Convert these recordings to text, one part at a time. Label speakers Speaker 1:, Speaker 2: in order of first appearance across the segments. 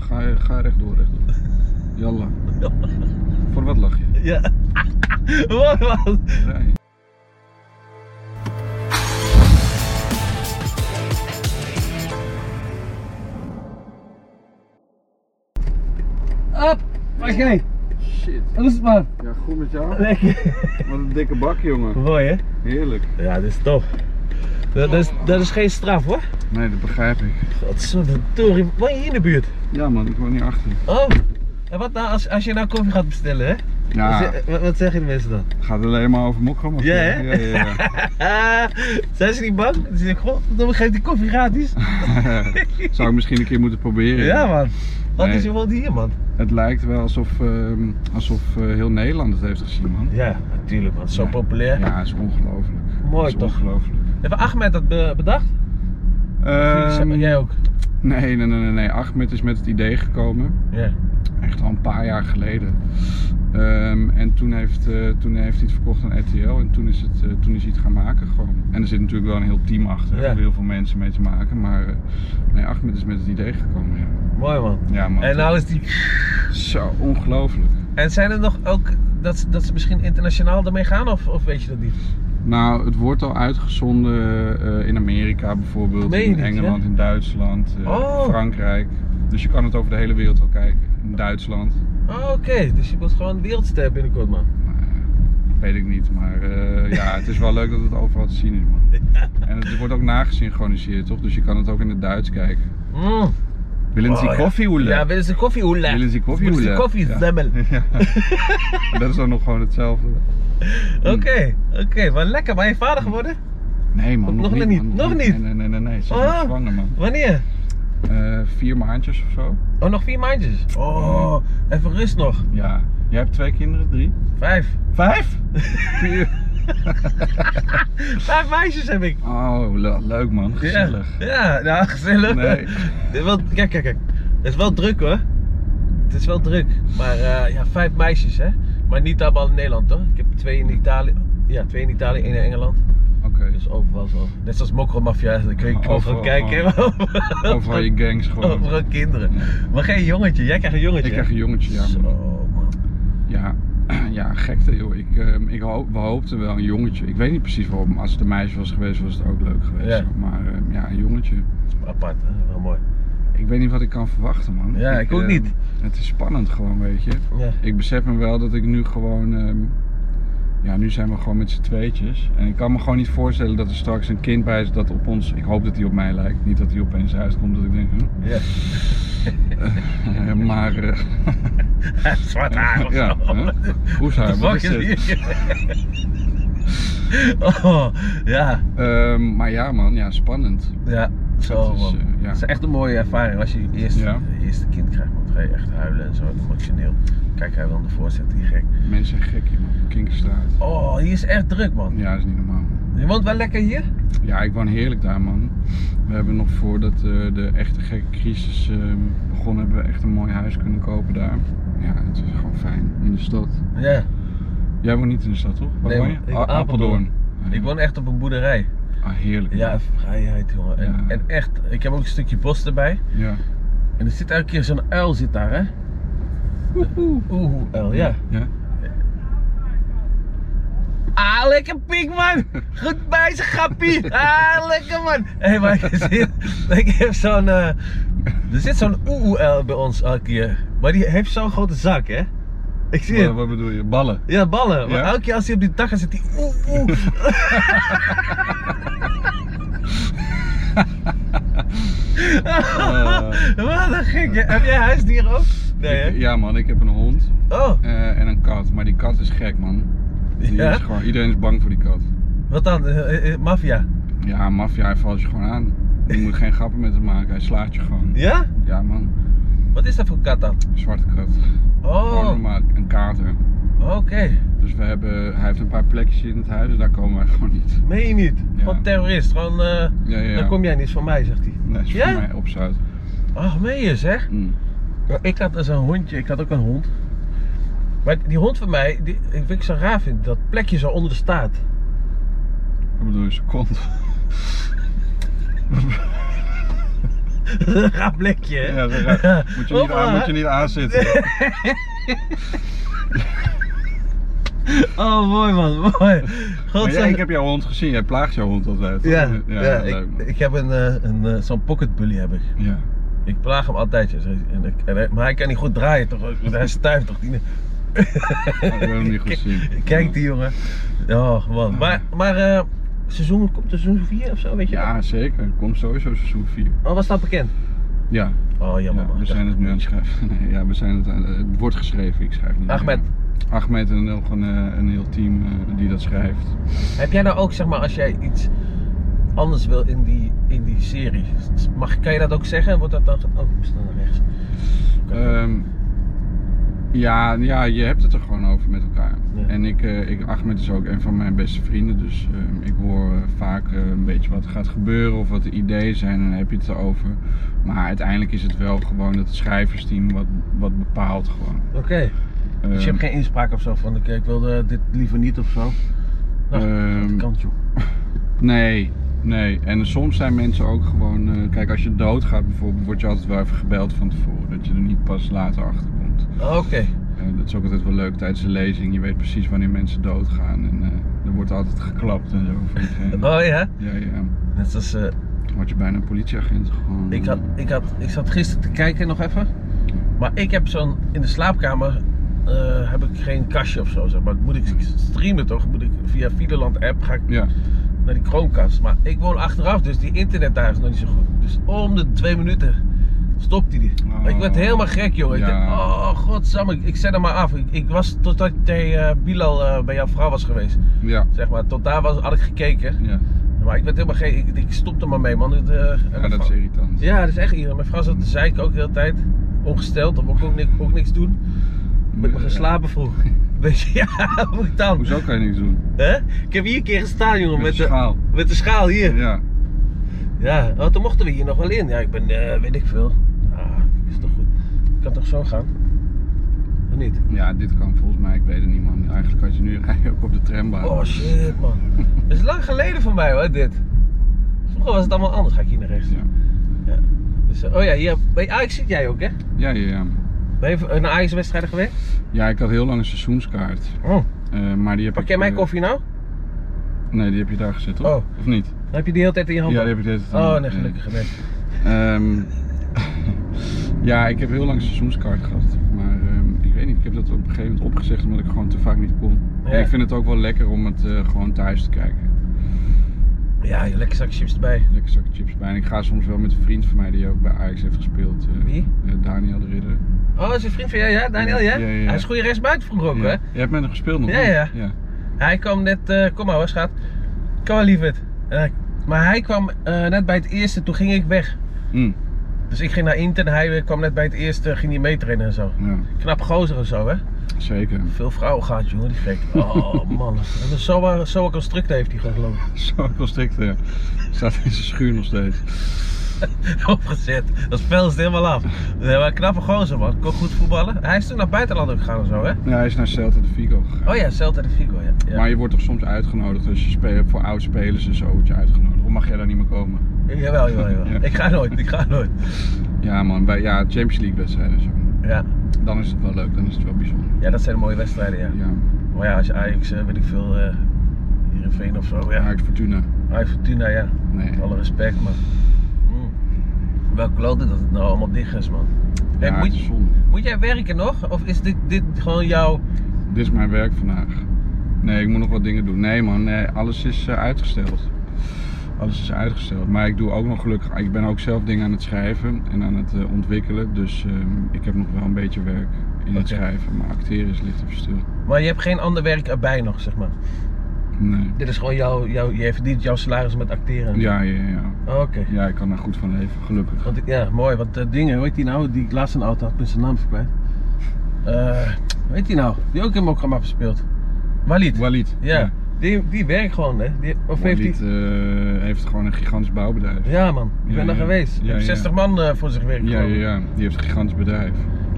Speaker 1: ga, ga rechtdoor, rechtdoor. Jalla. Voor wat lach je?
Speaker 2: Ja. Mooi man.
Speaker 1: Rij.
Speaker 2: Op. Oké.
Speaker 1: Shit.
Speaker 2: Hoe is het man?
Speaker 1: Ja, goed met jou.
Speaker 2: Lekker.
Speaker 1: Wat een dikke bak, jongen.
Speaker 2: Mooi hè?
Speaker 1: Heerlijk.
Speaker 2: Ja, dit is tof. Dat, dat is, dat is geen straf hoor.
Speaker 1: Nee, dat begrijp ik.
Speaker 2: Godverdorie, woon je hier in de buurt?
Speaker 1: Ja, man, ik woon niet achter. je.
Speaker 2: Oh, en wat nou als, als je nou koffie gaat bestellen, hè?
Speaker 1: Ja,
Speaker 2: Wat ze- Wat, wat zeggen de mensen dan?
Speaker 1: het gaat alleen maar over mokram.
Speaker 2: Ja, hè?
Speaker 1: Ja, ja,
Speaker 2: zijn ze niet bang? Dan zeg ik, godverdomme, geef die koffie gratis.
Speaker 1: ja. Zou ik misschien een keer moeten proberen.
Speaker 2: Ja, man. Wat
Speaker 1: Nee.
Speaker 2: is je woont hier, man?
Speaker 1: Het lijkt wel alsof, ehm, alsof eh, heel Nederland het heeft gezien, man.
Speaker 2: Ja, natuurlijk, man. Zo populair.
Speaker 1: Ja, het is ongelooflijk.
Speaker 2: Mooi,
Speaker 1: Het is
Speaker 2: toch?
Speaker 1: Ongelooflijk.
Speaker 2: Even Ahmed dat be- bedacht? Of
Speaker 1: Ehm,
Speaker 2: jullie- Jij ook?
Speaker 1: nee, nee, nee, nee, nee. Ahmed is met het idee gekomen.
Speaker 2: Ja.
Speaker 1: Echt al een paar jaar geleden. Ehm, en toen heeft, eh, toen heeft hij het verkocht aan RTL. En toen is, het, eh, toen is hij het gaan maken gewoon. En er zit natuurlijk wel een heel team achter.
Speaker 2: Ja.
Speaker 1: om heel veel mensen mee te maken. Maar eh, nee, Ahmed is met het idee gekomen, ja.
Speaker 2: Mooi, man.
Speaker 1: Ja, man.
Speaker 2: En nou is die...
Speaker 1: Zo, ongelooflijk.
Speaker 2: En zijn er nog ook dat, ze- dat ze misschien internationaal ermee gaan, of, of weet je dat niet?
Speaker 1: Nou, het wordt al uitgezonden eh, in Amerika bijvoorbeeld,
Speaker 2: Meen je
Speaker 1: in
Speaker 2: niet,
Speaker 1: Engeland, in Duitsland, eh,
Speaker 2: Oh.
Speaker 1: Frankrijk. Dus je kan het over de hele wereld al kijken. In Duitsland,
Speaker 2: Oh, oké. Dus je wordt gewoon wereldster binnenkort, man.
Speaker 1: weet ik niet. Maar eh, ja, het is wel leuk dat het overal te zien is, man. En het wordt ook nagesynchroniseerd, toch? Dus je kan het ook in het Duits kijken.
Speaker 2: Mm.
Speaker 1: Willen ze
Speaker 2: Oh, ja.
Speaker 1: koffie hoelen?
Speaker 2: Ja, willen ze koffie hoelen?
Speaker 1: Willen ze koffie
Speaker 2: Willen ze
Speaker 1: hoelen?
Speaker 2: koffie
Speaker 1: Ja.
Speaker 2: zemmel?
Speaker 1: dat is dan nog gewoon hetzelfde.
Speaker 2: Oké, oké, maar lekker. Ben je vader geworden?
Speaker 1: Nee, man, nog,
Speaker 2: Nog
Speaker 1: niet.
Speaker 2: niet,
Speaker 1: man,
Speaker 2: nog niet.
Speaker 1: Nee, nee, nee, nee. nee. Ze is
Speaker 2: Oh.
Speaker 1: nog zwanger, man.
Speaker 2: Wanneer?
Speaker 1: Eh, vier maandjes of zo.
Speaker 2: Oh, nog vier maandjes. Oh, even rust nog.
Speaker 1: Ja. Jij hebt twee kinderen, drie?
Speaker 2: Vijf.
Speaker 1: Vijf? Vier.
Speaker 2: Vijf meisjes heb ik.
Speaker 1: Oh, le- leuk man,
Speaker 2: Ja.
Speaker 1: gezellig.
Speaker 2: Ja, nou, gezellig.
Speaker 1: Nee.
Speaker 2: Wel, kijk, kijk, kijk. Het is wel druk hoor. Het is wel druk. Maar eh, ja, vijf meisjes hè. Maar niet allemaal in Nederland hoor. Ik heb twee in Italië. Ja, twee in Italië, één in Engeland.
Speaker 1: Oké,
Speaker 2: Dus overal zo. Net zoals Mokromafia, dan kun je
Speaker 1: Ja,
Speaker 2: overal
Speaker 1: overal
Speaker 2: kijken. Oh,
Speaker 1: overal je gangs gewoon.
Speaker 2: Overal kinderen. Maar geen jongetje, jij krijgt een jongetje.
Speaker 1: Ik krijg een jongetje, ja.
Speaker 2: oh, Zo,
Speaker 1: man.
Speaker 2: man.
Speaker 1: Ja, ja gekte joh. Ik, ehm, ik hoop, we hoopten wel een jongetje. Ik weet niet precies waarom, maar als het een meisje was geweest, was het ook leuk geweest.
Speaker 2: Ja.
Speaker 1: joh. Maar ehm, ja, een jongetje.
Speaker 2: Apart, hè? wel mooi.
Speaker 1: Ik weet niet wat ik kan verwachten, man.
Speaker 2: Ja, ik ook
Speaker 1: ehm,
Speaker 2: niet.
Speaker 1: Het is spannend gewoon, weet je.
Speaker 2: Ja.
Speaker 1: Ik besef me wel dat ik nu gewoon... ehm, ja, nu zijn we gewoon met z'n tweetjes. En ik kan me gewoon niet voorstellen dat er straks een kind bij is dat op ons... Ik hoop dat hij op mij lijkt. Niet dat hij opeens uitkomt dat ik denk... Hm?
Speaker 2: ja.
Speaker 1: Eh, maar. eh,
Speaker 2: Zwart haar of
Speaker 1: ja,
Speaker 2: zo.
Speaker 1: hè? Hoe
Speaker 2: What
Speaker 1: zou
Speaker 2: the fuck
Speaker 1: je
Speaker 2: is hier? oh, ja.
Speaker 1: Ehm, Maar ja, man, ja, spannend.
Speaker 2: Ja, zo
Speaker 1: Dat is,
Speaker 2: man.
Speaker 1: eh, ja.
Speaker 2: Het is echt een mooie ervaring als je je eerste,
Speaker 1: Ja.
Speaker 2: je eerste kind krijgt. Want dan ga je echt huilen en zo emotioneel. Kijk, hij wil hem ervoor zetten, die gek.
Speaker 1: Mensen zijn gek hier, man. Kinkerstraat.
Speaker 2: Oh, hier is echt druk man.
Speaker 1: Ja, dat is niet normaal. man.
Speaker 2: Je woont wel lekker hier?
Speaker 1: Ja, ik woon heerlijk daar, man. We hebben nog voordat eh, de echte gekke crisis eh, begon, hebben we echt een mooi huis kunnen kopen daar. Ja, het is gewoon fijn. In de stad.
Speaker 2: Ja.
Speaker 1: Jij woont niet in de stad, toch? Waar
Speaker 2: Nee,
Speaker 1: woon je?
Speaker 2: man. Ik-
Speaker 1: A-
Speaker 2: Apeldoorn.
Speaker 1: Ah, ja.
Speaker 2: Ik woon echt op een boerderij.
Speaker 1: Ah, heerlijk.
Speaker 2: Ja,
Speaker 1: man.
Speaker 2: vrijheid jongen. En,
Speaker 1: Ja.
Speaker 2: en echt, ik heb ook een stukje bos erbij.
Speaker 1: Ja.
Speaker 2: En er zit elke keer zo'n uil zit daar hè. Oeh, uil, ja.
Speaker 1: Ja?
Speaker 2: Ah, lekker pik man! Goed bezig, grappie! Ah, lekker man! Hé, hey, maar ik, zit, ik heb zo'n. eh, er zit zo'n oeoel bij ons elke keer. Maar die heeft zo'n grote zak, hè? Ik zie
Speaker 1: Wat,
Speaker 2: het.
Speaker 1: wat bedoel je? Ballen?
Speaker 2: Ja, ballen. Maar
Speaker 1: Ja?
Speaker 2: elke keer als hij op die dak gaat, zit die oeh oeh.
Speaker 1: Eh,
Speaker 2: Wat een gek. hè? Heb jij huisdieren ook? Nee, hè?
Speaker 1: ik- ja, man. Ik heb een hond.
Speaker 2: Oh,
Speaker 1: Eh, en een kat. Maar die kat is gek, man. Die
Speaker 2: Ja?
Speaker 1: is gewoon, iedereen is bang voor die kat.
Speaker 2: wat dan? Eh, eh, eh, Maffia.
Speaker 1: Ja, maffia, hij valt je gewoon aan. Je moet geen grappen met hem maken, hij slaat je gewoon.
Speaker 2: Ja?
Speaker 1: Ja, man,
Speaker 2: Wat is dat voor kat dan?
Speaker 1: zwarte kat.
Speaker 2: Oh,
Speaker 1: Gewoon maar een kater.
Speaker 2: oké.
Speaker 1: Dus we hebben, hij heeft een paar plekjes in het huis en daar komen wij gewoon niet.
Speaker 2: Meen je niet?
Speaker 1: Ja.
Speaker 2: Gewoon terrorist. Gewoon, eh,
Speaker 1: Ja, ja, ja.
Speaker 2: dan kom jij niet van mij, zegt hij.
Speaker 1: Nee, is
Speaker 2: Ja?
Speaker 1: voor mij op Zuid.
Speaker 2: Ach, meen je zeg?
Speaker 1: Mm.
Speaker 2: Ja, ik had dus een hondje, ik had ook een hond. Maar die hond van mij, die, ik- wat ik zo raar vind, dat plekje zo onder de staart.
Speaker 1: Wat bedoel je, zijn kont?
Speaker 2: Dat is een raar plekje, hè?
Speaker 1: Ja, dat raar. moet, je niet aan, moet je niet aanzitten.
Speaker 2: Oh, mooi man, mooi.
Speaker 1: Maar jij,
Speaker 2: Godzijdank.
Speaker 1: ik heb jouw hond gezien, jij plaagt jouw hond altijd.
Speaker 2: Ja, ja,
Speaker 1: leuk,
Speaker 2: ik,
Speaker 1: man.
Speaker 2: ik heb een, eh, een, eh, zo'n pocket bully heb ik.
Speaker 1: ja.
Speaker 2: Ik plaag hem altijd. ja. En ik- en hij- maar hij kan niet goed draaien toch? ook, Want hij stuift toch? Die-
Speaker 1: ik heb hem niet gezien.
Speaker 2: Kijk die jongen. Oh man. Maar, maar eh, seizoen, komt er seizoen 4 of zo, weet je?
Speaker 1: Ja, zeker. Komt sowieso seizoen 4.
Speaker 2: Oh, was dat bekend?
Speaker 1: Ja,
Speaker 2: Oh
Speaker 1: ja,
Speaker 2: jammer man.
Speaker 1: we
Speaker 2: Ik
Speaker 1: zijn
Speaker 2: dacht-
Speaker 1: het nu aan het schrijven. Nee, ja, we zijn het aan, het wordt geschreven, ik schrijf niet.
Speaker 2: Ahmed.
Speaker 1: meer. Ahmed en nog een, eh, een heel team eh, die dat schrijft.
Speaker 2: Heb jij nou ook zeg maar als jij iets anders wil in die, in die serie? Mag, kan je dat ook zeggen? Wordt dat dan. ge- Oh, ik moest dan naar rechts.
Speaker 1: Ehm, ja, ja, je hebt het er gewoon over met elkaar.
Speaker 2: Ja.
Speaker 1: En ik, eh, ik, Ahmed is ook een van mijn beste vrienden, dus ehm, ik hoor eh, vaak eh, een beetje wat er gaat gebeuren of wat de ideeën zijn en dan heb je het erover. Maar uiteindelijk is het wel gewoon dat het schrijversteam wat, wat bepaalt gewoon.
Speaker 2: Oké. Dus je
Speaker 1: Ehm,
Speaker 2: hebt geen inspraak of zo van ik, ik wilde dit liever niet of zo. Nou,
Speaker 1: ehm,
Speaker 2: Kan joh.
Speaker 1: Nee, nee. En soms zijn mensen ook gewoon. eh, kijk, als je doodgaat bijvoorbeeld, word je altijd wel even gebeld van tevoren. Dat je er niet pas later achter komt.
Speaker 2: Oh, Oké.
Speaker 1: Eh, dat is ook altijd wel leuk tijdens de lezing. Je weet precies wanneer mensen doodgaan. En eh, er wordt altijd geklapt en zo. voor diegene.
Speaker 2: Oh ja.
Speaker 1: Ja, ja.
Speaker 2: Net zoals. eh,
Speaker 1: Dan word je bijna een politieagent gewoon.
Speaker 2: ik, had, ik, had, ik zat gisteren te kijken nog even. Maar ik heb zo'n. In de slaapkamer eh, heb ik geen kastje of zo. Zeg maar. Moet ik streamen toch? Moet ik via Videoland app ga ik
Speaker 1: Ja,
Speaker 2: naar die Chromecast. Maar ik woon achteraf, dus die internet daar is nog niet zo goed. Dus om de twee minuten stopt hij die.
Speaker 1: Oh.
Speaker 2: Ik werd helemaal gek, joh. Ik
Speaker 1: Ja.
Speaker 2: dacht, oh godsamme, ik, ik zet hem maar af. Ik, ik was totdat jij eh, Bilal eh, bij jouw vrouw was geweest,
Speaker 1: ja.
Speaker 2: zeg maar. Tot daar was, had ik gekeken.
Speaker 1: Ja,
Speaker 2: Maar ik werd helemaal gek, ik, ik stopte maar mee, man. Het, eh, en
Speaker 1: ja
Speaker 2: mijn
Speaker 1: dat is
Speaker 2: vrouw-
Speaker 1: irritant.
Speaker 2: ja, dat is echt irritant. Mijn vrouw zat te zeiken ook de hele tijd. Ongesteld, dan mocht ik ook, ni- ook niks doen. Omdat ik maar gaan slapen vroeg. Weet je, ja, hoe ik dan?
Speaker 1: Hoezo kan je niks doen?
Speaker 2: Hè? Ik heb hier een keer gestaan, jongen,
Speaker 1: Met
Speaker 2: met,
Speaker 1: de
Speaker 2: de,
Speaker 1: schaal.
Speaker 2: met de schaal hier.
Speaker 1: Ja.
Speaker 2: Ja, oh, toen mochten we hier nog wel in. Ja, ik ben, eh, weet ik veel. Ah, is toch goed. Kan toch zo gaan? Of niet?
Speaker 1: ja, dit kan volgens mij, ik weet het niet man. Eigenlijk had je nu rij je ook op de trambaan.
Speaker 2: Oh shit, man. Het is lang geleden voor mij hoor, dit. Vroeger was het allemaal anders. Ga ik hier naar rechts.
Speaker 1: Ja.
Speaker 2: Ja. Dus, eh, oh ja, hier, bij Ajax zit jij ook, hè?
Speaker 1: Ja, ja, ja.
Speaker 2: Ben je eh, naar Ajax-wedstrijden geweest?
Speaker 1: Ja, ik had heel lang een seizoenskaart.
Speaker 2: Oh.
Speaker 1: Eh, maar die heb
Speaker 2: Pak
Speaker 1: ik,
Speaker 2: jij mijn
Speaker 1: eh,
Speaker 2: koffie nou?
Speaker 1: Nee, die heb je daar gezet, toch?
Speaker 2: Oh.
Speaker 1: Of niet?
Speaker 2: Dan heb je die hele tijd in je hand.
Speaker 1: Ja, die heb ik deze
Speaker 2: Oh, nee, gelukkig nee.
Speaker 1: Ehm, ja, ik heb heel lang een seizoenskaart gehad. Maar ehm, ik weet niet, ik heb dat op een gegeven moment opgezegd omdat ik gewoon te vaak niet kon.
Speaker 2: Ja.
Speaker 1: En ik vind het ook wel lekker om het eh, gewoon thuis te kijken.
Speaker 2: Ja, je lekker zak chips erbij.
Speaker 1: Lekker zak chips bij. En ik ga soms wel met een vriend van mij die ook bij Ajax heeft gespeeld. eh,
Speaker 2: Wie?
Speaker 1: eh, Daniel de Ridder.
Speaker 2: Oh, is een vriend van jou, ja? Daniel, ja?
Speaker 1: Ja, ja, ja.
Speaker 2: Hij is goede rechtsbuiten vroeger ook,
Speaker 1: Ja.
Speaker 2: hè?
Speaker 1: Je hebt met hem gespeeld nog?
Speaker 2: Ja,
Speaker 1: niet?
Speaker 2: ja. Hij kwam net, eh, kom maar hoor, schat. Kom maar, lieverd. Eh, maar hij kwam eh, net bij het eerste, toen ging ik weg.
Speaker 1: Mm,
Speaker 2: Dus ik ging naar Inter en hij eh, kwam net bij het eerste, ging hij meetrainen en zo.
Speaker 1: ja,
Speaker 2: Knap gozer en zo, hè?
Speaker 1: zeker.
Speaker 2: Veel vrouwen gaat, jongen, die gek. Oh man, Wat een zo'n zo construct heeft hij gewoon geloof ik.
Speaker 1: Zo constrict, ja. Staat eh, in zijn schuur nog steeds.
Speaker 2: Opgezet, dat spel is helemaal af. Nee, maar knappe gozer man, kon goed voetballen. Hij is toen naar het buitenland ook gegaan en zo, hè?
Speaker 1: Ja, hij is naar Celta de Vigo gegaan.
Speaker 2: Oh ja, Celta de Vigo, ja. ja.
Speaker 1: Maar je wordt toch soms uitgenodigd, dus je speelt voor oud-spelers en zo word je uitgenodigd. Of mag jij daar niet meer komen?
Speaker 2: Jawel, jawel, jawel.
Speaker 1: Ja.
Speaker 2: Ik ga nooit, ik ga nooit.
Speaker 1: Ja man, bij ja, Champions League wedstrijden en zo.
Speaker 2: Ja.
Speaker 1: Dan is het wel leuk, dan is het wel bijzonder.
Speaker 2: ja, dat zijn de mooie wedstrijden, ja.
Speaker 1: Ja,
Speaker 2: Maar ja, als je Ajax, eh, weet ik veel, eh hier in Veen of zo, ja.
Speaker 1: Ajax Fortuna.
Speaker 2: Ajax Fortuna, ja.
Speaker 1: Nee.
Speaker 2: Met alle respect, maar... Mm. Wel klote dat het nou allemaal dicht is, man. Hey,
Speaker 1: Ja, het
Speaker 2: moet,
Speaker 1: is zonde.
Speaker 2: moet jij werken nog? Of is dit, dit gewoon jouw...
Speaker 1: Dit is mijn werk vandaag. Nee, ik moet nog wat dingen doen. Nee man, nee, alles is eh, uitgesteld. Alles is uitgesteld. Maar ik doe ook nog gelukkig. Ik ben ook zelf dingen aan het schrijven en aan het eh, ontwikkelen. Dus ehm, ik heb nog wel een beetje werk in het
Speaker 2: Oké.
Speaker 1: schrijven. Maar acteren is licht op stil.
Speaker 2: Maar je hebt geen ander werk erbij nog, zeg maar.
Speaker 1: Nee.
Speaker 2: Dit is gewoon jouw... jouw je verdient jouw salaris met acteren. Oh,
Speaker 1: Ja, ja, ja.
Speaker 2: Oké.
Speaker 1: Ja, ik kan daar goed van leven, gelukkig.
Speaker 2: Want ik- ja, mooi. Want eh, dingen, hoe heet die nou? Die ik laatst een auto had, ik ben zijn naam verkwijt. Eh, hoe heet die nou? Die ook in mijn programma gespeeld. Walid.
Speaker 1: Walid.
Speaker 2: ja. Die, die werkt gewoon, hè? Die, of heeft
Speaker 1: Walid
Speaker 2: die...
Speaker 1: eh, heeft gewoon een gigantisch bouwbedrijf.
Speaker 2: Ja man, ik
Speaker 1: Ja,
Speaker 2: ben daar
Speaker 1: ja.
Speaker 2: geweest.
Speaker 1: Ja,
Speaker 2: Ik heb
Speaker 1: ja.
Speaker 2: 60 man eh, voor zich werk
Speaker 1: Ja,
Speaker 2: genomen.
Speaker 1: ja, ja, die heeft een gigantisch bedrijf.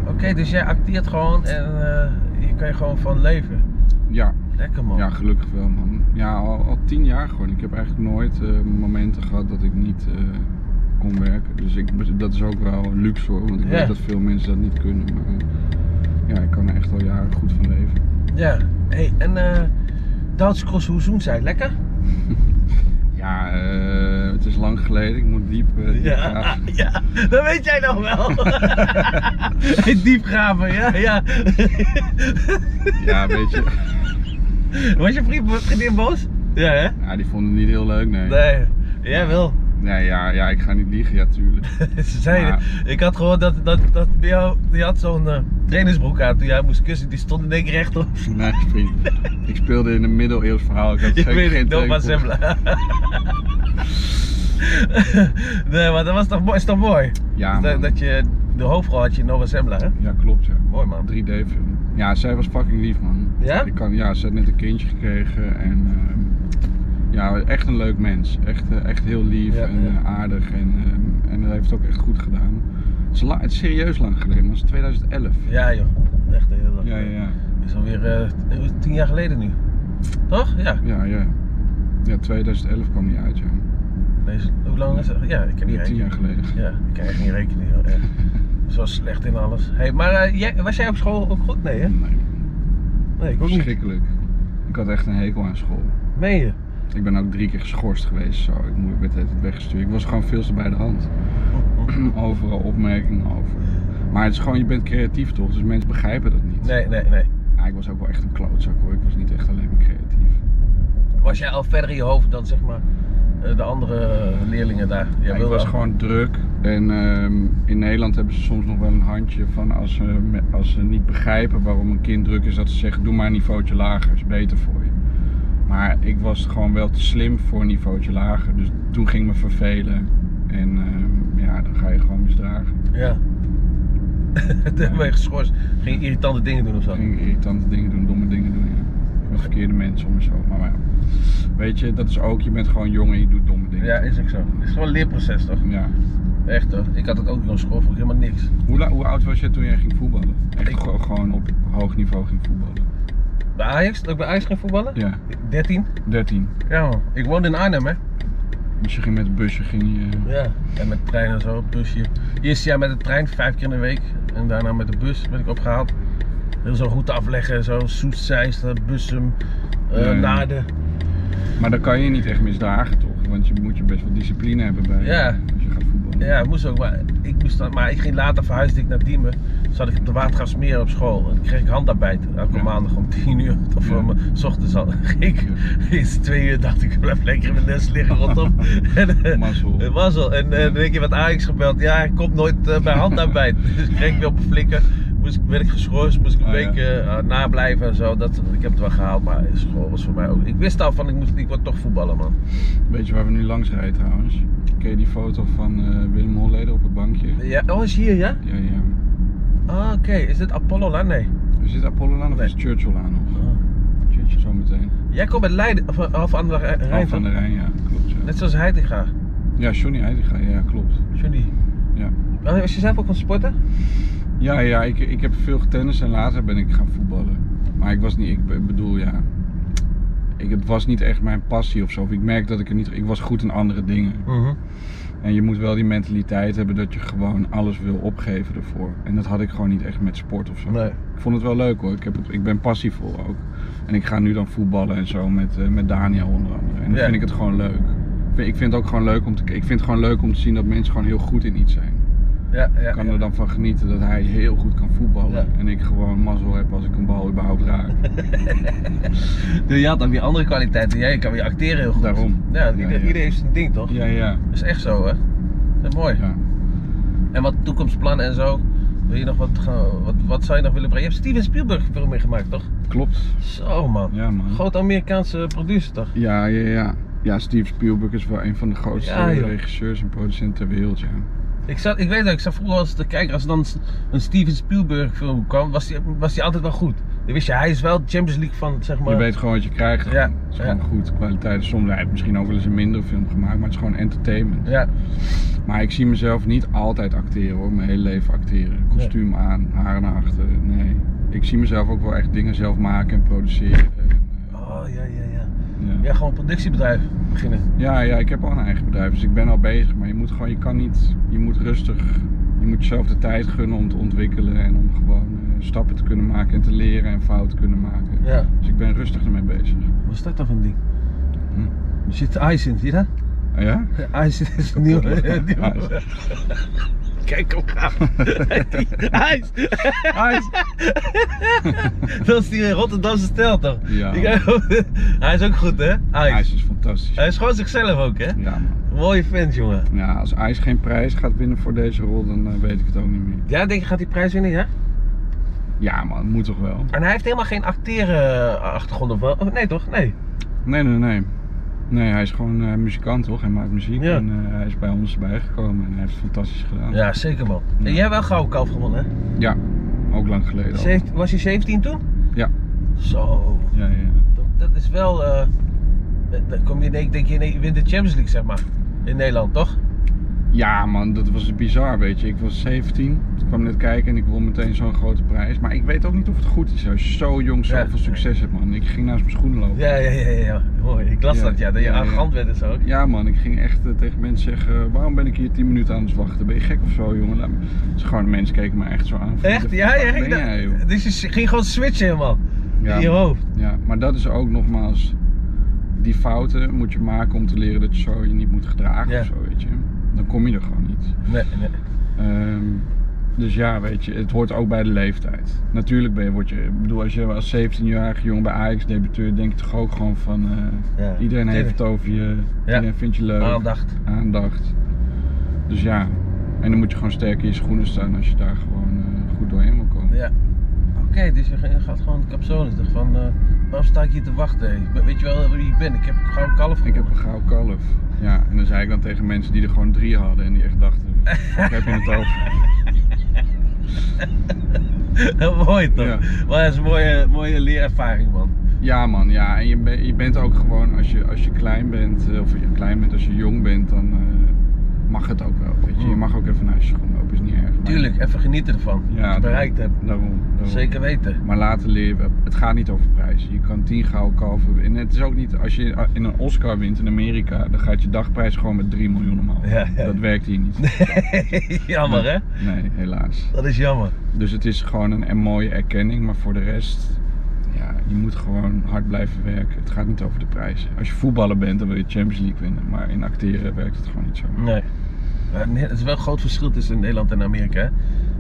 Speaker 2: Oké, dus jij acteert gewoon en eh, hier kan je gewoon van leven.
Speaker 1: Ja,
Speaker 2: Lekker man.
Speaker 1: ja gelukkig wel man. Ja, al, al tien jaar gewoon. Ik heb eigenlijk nooit eh, momenten gehad dat ik niet eh, omwerken. Dus ik, dat is ook wel luxe hoor, want ik
Speaker 2: Ja.
Speaker 1: weet dat veel mensen dat niet kunnen. Maar eh, ja, ik kan er echt al jaren goed van leven.
Speaker 2: Ja. hey, en eh Duitse cross, hoe zoen zij? Lekker?
Speaker 1: Ja, eh, het is lang geleden, ik moet diep. eh, diep
Speaker 2: Ja,
Speaker 1: graven.
Speaker 2: ja, dat weet jij nog wel. Hey, Diepgraven, ja, ja.
Speaker 1: ja, weet je.
Speaker 2: Was je vriend, vriendin boos? Ja, hè?
Speaker 1: Ja, die vonden het niet heel leuk, nee.
Speaker 2: Nee, jij wel.
Speaker 1: Nee, ja, ja, ik ga niet liegen, ja, tuurlijk.
Speaker 2: Ze zeiden,
Speaker 1: Maar-
Speaker 2: ik had gehoord dat, dat, dat bij jou, die had zo'n eh, trainingsbroek aan toen jij moest kussen, die stond in één keer rechtop.
Speaker 1: Nee, vriend. Ik speelde in een middeleeuws verhaal. Ik had
Speaker 2: Ik
Speaker 1: zeker
Speaker 2: weet
Speaker 1: geen
Speaker 2: het, Nova
Speaker 1: tegenpool.
Speaker 2: Zembla. nee, maar dat was toch mooi, is toch mooi?
Speaker 1: Ja,
Speaker 2: dat,
Speaker 1: man.
Speaker 2: dat je de hoofdrol had je in Nova Zembla, hè?
Speaker 1: Ja, klopt, ja.
Speaker 2: Mooi man.
Speaker 1: 3D-film. Ja, zij was fucking lief, man.
Speaker 2: Ja?
Speaker 1: Ik kan, ja, ze had net een kindje gekregen en ehm, ja, echt een leuk mens. Echt, eh, echt heel lief
Speaker 2: Ja,
Speaker 1: en
Speaker 2: ja.
Speaker 1: eh, aardig en, ehm, en dat heeft het ook echt goed gedaan. Het is, la- het is serieus lang geleden, maar het is 2011.
Speaker 2: Ja joh, echt heel leuk.
Speaker 1: Ja, ja, ja.
Speaker 2: Is alweer eh, tien jaar geleden nu. Toch? Ja.
Speaker 1: Ja, ja. Ja, 2011 kwam die uit, ja.
Speaker 2: Deze, hoe lang is het? Ja, ik kan niet
Speaker 1: Ja, tien
Speaker 2: rekenen.
Speaker 1: jaar geleden.
Speaker 2: Ja, ik kan echt niet rekenen. joh, echt. Zo slecht in alles. Hey, maar eh, jij, was jij op school ook goed? Nee, hè?
Speaker 1: Nee,
Speaker 2: Nee, ik ook niet.
Speaker 1: verschrikkelijk. Ik had echt een hekel aan school.
Speaker 2: Meen je?
Speaker 1: Ik ben ook drie keer geschorst geweest. Zo. Ik moe- werd het weggestuurd. Ik was gewoon veel te bij de hand. Oh, Overal opmerkingen over. Maar het is gewoon, je bent creatief toch? Dus mensen begrijpen dat niet.
Speaker 2: Nee, nee, nee.
Speaker 1: Ja, ik was ook wel echt een klootzak hoor. Ik was niet echt alleen maar creatief.
Speaker 2: Was jij al verder in je hoofd dan zeg maar eh, de andere leerlingen daar? Jij
Speaker 1: Ja, ik
Speaker 2: wilde
Speaker 1: was
Speaker 2: al-
Speaker 1: gewoon druk. En ehm, in Nederland hebben ze soms nog wel een handje van als ze, me- als ze niet begrijpen waarom een kind druk is, dat ze zeggen: doe maar een niveautje lager, is beter voor je. Maar ik was gewoon wel te slim voor een niveautje lager. Dus toen ging ik me vervelen. En ehm, ja, dan ga je gewoon misdragen.
Speaker 2: Ja. Toen ben je geschorst. Ging je irritante dingen doen of zo?
Speaker 1: Ik ging irritante dingen doen, domme dingen doen. Ja. Met verkeerde mensen om en zo. Maar, maar ja. weet je, dat is ook, je bent gewoon jong en je doet domme dingen.
Speaker 2: Ja, is ook zo. Het is gewoon een leerproces toch?
Speaker 1: Ja.
Speaker 2: Echt hoor. Ik had het ook op school, vond ik helemaal niks.
Speaker 1: Hoe, la- hoe oud was je toen jij ging voetballen? Echt
Speaker 2: Ik-
Speaker 1: gewoon- gewoon op hoog niveau ging voetballen.
Speaker 2: Bij Ajax, dat ik bij Ajax ging voetballen?
Speaker 1: Ja,
Speaker 2: 13?
Speaker 1: 13.
Speaker 2: Ja man. Ik woonde in Arnhem hè?
Speaker 1: Dus je ging met het busje, ging je...
Speaker 2: Ja. En met trein en zo, busje. Eerst jaar met de trein, vijf keer in de week. En daarna met de bus werd ik opgehaald. Heel zo'n route afleggen, zo Soest, Zeist, eh, Bussum, eh,
Speaker 1: Ja, ja.
Speaker 2: Naarden.
Speaker 1: Maar dan kan je niet echt misdragen toch? Want je moet je best wel discipline hebben bij
Speaker 2: Ja.
Speaker 1: als je gaat voetballen.
Speaker 2: Ja, ik moest ook, maar ik, moest dan, maar ik ging later verhuisde ik naar Diemen. Toen zat ik op de Watergraafsmeer op school. En dan kreeg ik handarbeit elke
Speaker 1: Ja.
Speaker 2: maandag om 10 uur. Of
Speaker 1: Ja.
Speaker 2: om eh, s ochtends al. ging ik eens twee uur dacht ik, ik blijf lekker in mijn nest liggen rondom. en, eh,
Speaker 1: Mazzel.
Speaker 2: eh, mazzel. En eh, dan denk je wat Ajax gebeld. Ja, ik kom nooit eh, bij handarbeid. dus kreeg ik weer op een flikker. Moest ik, werd ik geschorst, moest ik een
Speaker 1: Ah, ja.
Speaker 2: week eh, nablijven en zo. Dat, ik heb het wel gehaald, maar school was voor mij ook. Ik wist al van ik, moest, ik word toch voetballen, man.
Speaker 1: Weet je waar we nu langs rijden trouwens? Ken je die foto van eh, Willem Holleder op het bankje?
Speaker 2: Ja, oh, is hier, ja?
Speaker 1: Ja, ja.
Speaker 2: Ah, oké. Is dit Apollo Laan? Nee.
Speaker 1: Is dit Apollo aan of
Speaker 2: Nee.
Speaker 1: is het Churchill aan nog? Churchill zometeen.
Speaker 2: Jij komt uit Leiden, of, eh, of aan de Rijn- Rijn
Speaker 1: Half aan
Speaker 2: van.
Speaker 1: de Rijn, ja. Klopt, ja.
Speaker 2: Net zoals Heitinga,
Speaker 1: Ja, Johnny Heitinga, ja, klopt.
Speaker 2: Johnny.
Speaker 1: Ja.
Speaker 2: Oh, Was je zelf ook aan het sporten?
Speaker 1: Ja, ja, ik, ik heb veel getennist en later ben ik gaan voetballen. Maar ik was niet, ik be- bedoel, ja. Ik, het was niet echt mijn passie of zo. Of Ik merk dat ik er niet, ik was goed in andere dingen. En je moet wel die mentaliteit hebben dat je gewoon alles wil opgeven ervoor. En dat had ik gewoon niet echt met sport of zo.
Speaker 2: Nee.
Speaker 1: Ik vond het wel leuk hoor. Ik, heb het, ik ben passievol ook. En ik ga nu dan voetballen en zo met, eh, met Daniel onder andere. En dan
Speaker 2: Ja.
Speaker 1: vind ik het gewoon leuk. Ik vind- Ik vind het ook gewoon leuk om te, ik vind het gewoon leuk om te zien dat mensen gewoon heel goed in iets zijn.
Speaker 2: Ja, ja.
Speaker 1: Ik kan
Speaker 2: ja.
Speaker 1: er dan van genieten dat hij heel goed kan voetballen.
Speaker 2: Ja.
Speaker 1: En ik gewoon mazzel heb als ik een bal überhaupt raak.
Speaker 2: Dus je had ook die andere kwaliteiten. Jij kan weer acteren heel goed.
Speaker 1: Daarom.
Speaker 2: Ja, ieder,
Speaker 1: Ja, ja.
Speaker 2: ieder heeft zijn ding toch?
Speaker 1: ja, ja,
Speaker 2: Dat is echt zo, hè? Dat is mooi.
Speaker 1: ja.
Speaker 2: En wat toekomstplannen en zo. Wil je nog wat, gaan- wat, wat zou je nog willen brengen? Je hebt Steven Spielberg film meegemaakt, toch?
Speaker 1: Klopt.
Speaker 2: Zo, man.
Speaker 1: Ja, man.
Speaker 2: Groot Amerikaanse producer, toch?
Speaker 1: Ja, ja, ja. Ja, Steve Spielberg is wel een van de grootste
Speaker 2: Ja, joh.
Speaker 1: regisseurs en producenten ter wereld, ja.
Speaker 2: Ik, zat, ik weet dat, ik zat vroeger als de kijker, als er dan een Steven Spielberg film kwam, was die, was die altijd wel goed. Dan wist je, hij is wel Champions League van, zeg maar.
Speaker 1: Je weet gewoon wat je krijgt.
Speaker 2: Ja,
Speaker 1: Het is gewoon
Speaker 2: ja.
Speaker 1: goed. Kwaliteit. Dus Soms hij heeft misschien ook wel eens een minder film gemaakt, maar het is gewoon entertainment.
Speaker 2: Ja,
Speaker 1: Maar ik zie mezelf niet altijd acteren hoor. Mijn hele leven acteren. Kostuum aan, haar naar achteren. Nee. Ik zie mezelf ook wel echt dingen zelf maken en produceren. En,
Speaker 2: oh ja, ja, ja.
Speaker 1: eh, ja.
Speaker 2: Ja, gewoon een productiebedrijf. beginnen.
Speaker 1: Ja, ja, ik heb al een eigen bedrijf, dus ik ben al bezig. Maar je moet gewoon, je kan niet, je moet rustig, je moet jezelf de tijd gunnen om te ontwikkelen en om gewoon eh, stappen te kunnen maken en te leren en fouten te kunnen maken.
Speaker 2: Ja.
Speaker 1: Dus ik ben rustig ermee bezig.
Speaker 2: Wat is dat dan van ding?
Speaker 1: Hm.
Speaker 2: Er zit ijs in, zie je dat?
Speaker 1: Ah, Ja?
Speaker 2: Ijs is nieuw. nieuw.
Speaker 1: Ijs.
Speaker 2: Kijk hem gaan. Ijs!
Speaker 1: Ijs.
Speaker 2: Dat is die Rotterdamse stijl toch?
Speaker 1: Ja.
Speaker 2: Ik- Hij is ook goed hè? Ijs.
Speaker 1: IJs is fantastisch.
Speaker 2: Hij is gewoon zichzelf ook hè?
Speaker 1: Ja, man.
Speaker 2: Mooie vent jongen.
Speaker 1: Ja, als IJs geen prijs gaat winnen voor deze rol, dan eh, weet ik het ook niet meer.
Speaker 2: Ja, denk je gaat die prijs winnen ja?
Speaker 1: Ja, man, moet toch wel?
Speaker 2: En hij heeft helemaal geen acteren eh, achtergrond of wel? Oh, nee toch? Nee.
Speaker 1: Nee, nee, nee. Nee, hij is gewoon eh, muzikant, toch? Hij maakt muziek
Speaker 2: Ja.
Speaker 1: en eh, hij is bij ons bijgekomen en hij heeft het fantastisch gedaan.
Speaker 2: Ja, zeker man. En
Speaker 1: Ja.
Speaker 2: jij hebt wel gouden kalf gewonnen hè?
Speaker 1: Ja, ook lang geleden al.
Speaker 2: Zeventien- was je 17 toen?
Speaker 1: Ja.
Speaker 2: Zo,
Speaker 1: Ja, ja.
Speaker 2: dat- dat is wel. eh, dat- dan kom je in één- denk je, in één- je wint de Champions League, zeg maar. In Nederland, toch?
Speaker 1: ja, man, dat was bizar, weet je. Ik was 17, ik kwam net kijken en ik won meteen zo'n grote prijs. Maar ik weet ook niet of het goed is als je zo jong
Speaker 2: Ja.
Speaker 1: zoveel succes hebt, man. Ik ging naast mijn schoenen lopen.
Speaker 2: Ja, ja, ja, ja, ja. Mooi. Ik las
Speaker 1: Ja,
Speaker 2: dat, ja. Dat je
Speaker 1: ja, ja.
Speaker 2: arrogant werd en zo. ook.
Speaker 1: Ja man, ik ging echt eh, tegen mensen zeggen, eh, waarom ben ik hier 10 minuten aan het wachten? Ben je gek of zo jongen? Laat me... Dus gewoon mensen keken me echt zo aan. van,
Speaker 2: Echt?
Speaker 1: "De
Speaker 2: Ja,
Speaker 1: fuck
Speaker 2: ja.
Speaker 1: Ben
Speaker 2: ik dacht-
Speaker 1: jij, joh?"
Speaker 2: dus je s- ging gewoon switchen helemaal. In je
Speaker 1: ja,
Speaker 2: hoofd.
Speaker 1: ja, maar dat is ook nogmaals, die fouten moet je maken om te leren dat je zo je niet moet gedragen
Speaker 2: Ja.
Speaker 1: of zo, weet je. Dan kom je er gewoon niet.
Speaker 2: Nee, nee.
Speaker 1: Ehm, dus ja, weet je, het hoort ook bij de leeftijd. Natuurlijk ben je, word je, ik bedoel, als je als 17-jarige jongen bij Ajax debuteert, denk je toch ook gewoon van, eh,
Speaker 2: Ja,
Speaker 1: iedereen heeft
Speaker 2: tuurlijk.
Speaker 1: het over je,
Speaker 2: Ja.
Speaker 1: iedereen vindt je leuk
Speaker 2: Aandacht.
Speaker 1: aandacht. Dus ja, en dan moet je gewoon sterk in je schoenen staan als je daar gewoon eh, goed doorheen wil komen.
Speaker 2: Ja. Oké, dus je ga- je gaat gewoon de capsule. Ik dacht van, eh, waarom sta ik hier te wachten? Ik ben- Weet je wel wie ik ben? Ik heb gewoon kalf
Speaker 1: Ik heb
Speaker 2: gewonnen.
Speaker 1: een gauw kalf. Ja, en dan zei ik dan tegen mensen die er gewoon drie hadden en die echt dachten, "Waar heb je het over?
Speaker 2: mooi toch?
Speaker 1: Ja.
Speaker 2: Maar dat is een mooie, mooie leerervaring man.
Speaker 1: Ja man, ja, en je, ben- je bent ook gewoon, als je, als je klein bent, eh, of je klein bent, als je jong bent, dan eh, mag het ook wel, weet je. Je
Speaker 2: Mm.
Speaker 1: mag ook even naar je schoen lopen, is niet erg. maar-
Speaker 2: Tuurlijk, even genieten ervan.
Speaker 1: Ja, Oh.
Speaker 2: Als je het bereikt hebt.
Speaker 1: Daarom, daarom.
Speaker 2: Zeker weten.
Speaker 1: Maar later leer je, het gaat niet over prijzen. Je kan 10 gouden kalven winnen. En het is ook niet, als je eh, in een Oscar wint in Amerika, dan gaat je dagprijs gewoon met 3 miljoen omhoog.
Speaker 2: Ja, ja.
Speaker 1: Dat werkt hier niet.
Speaker 2: jammer hè?
Speaker 1: Nee, helaas.
Speaker 2: Dat is jammer.
Speaker 1: Dus het is gewoon een, een mooie erkenning, maar voor de rest, ja, je moet gewoon hard blijven werken. Het gaat niet over de prijzen. Als je voetballer bent, dan wil je Champions League winnen. Maar in acteren werkt het gewoon niet zo.
Speaker 2: Nee. Maar nee, het is wel een groot verschil tussen Nederland en Amerika. hè?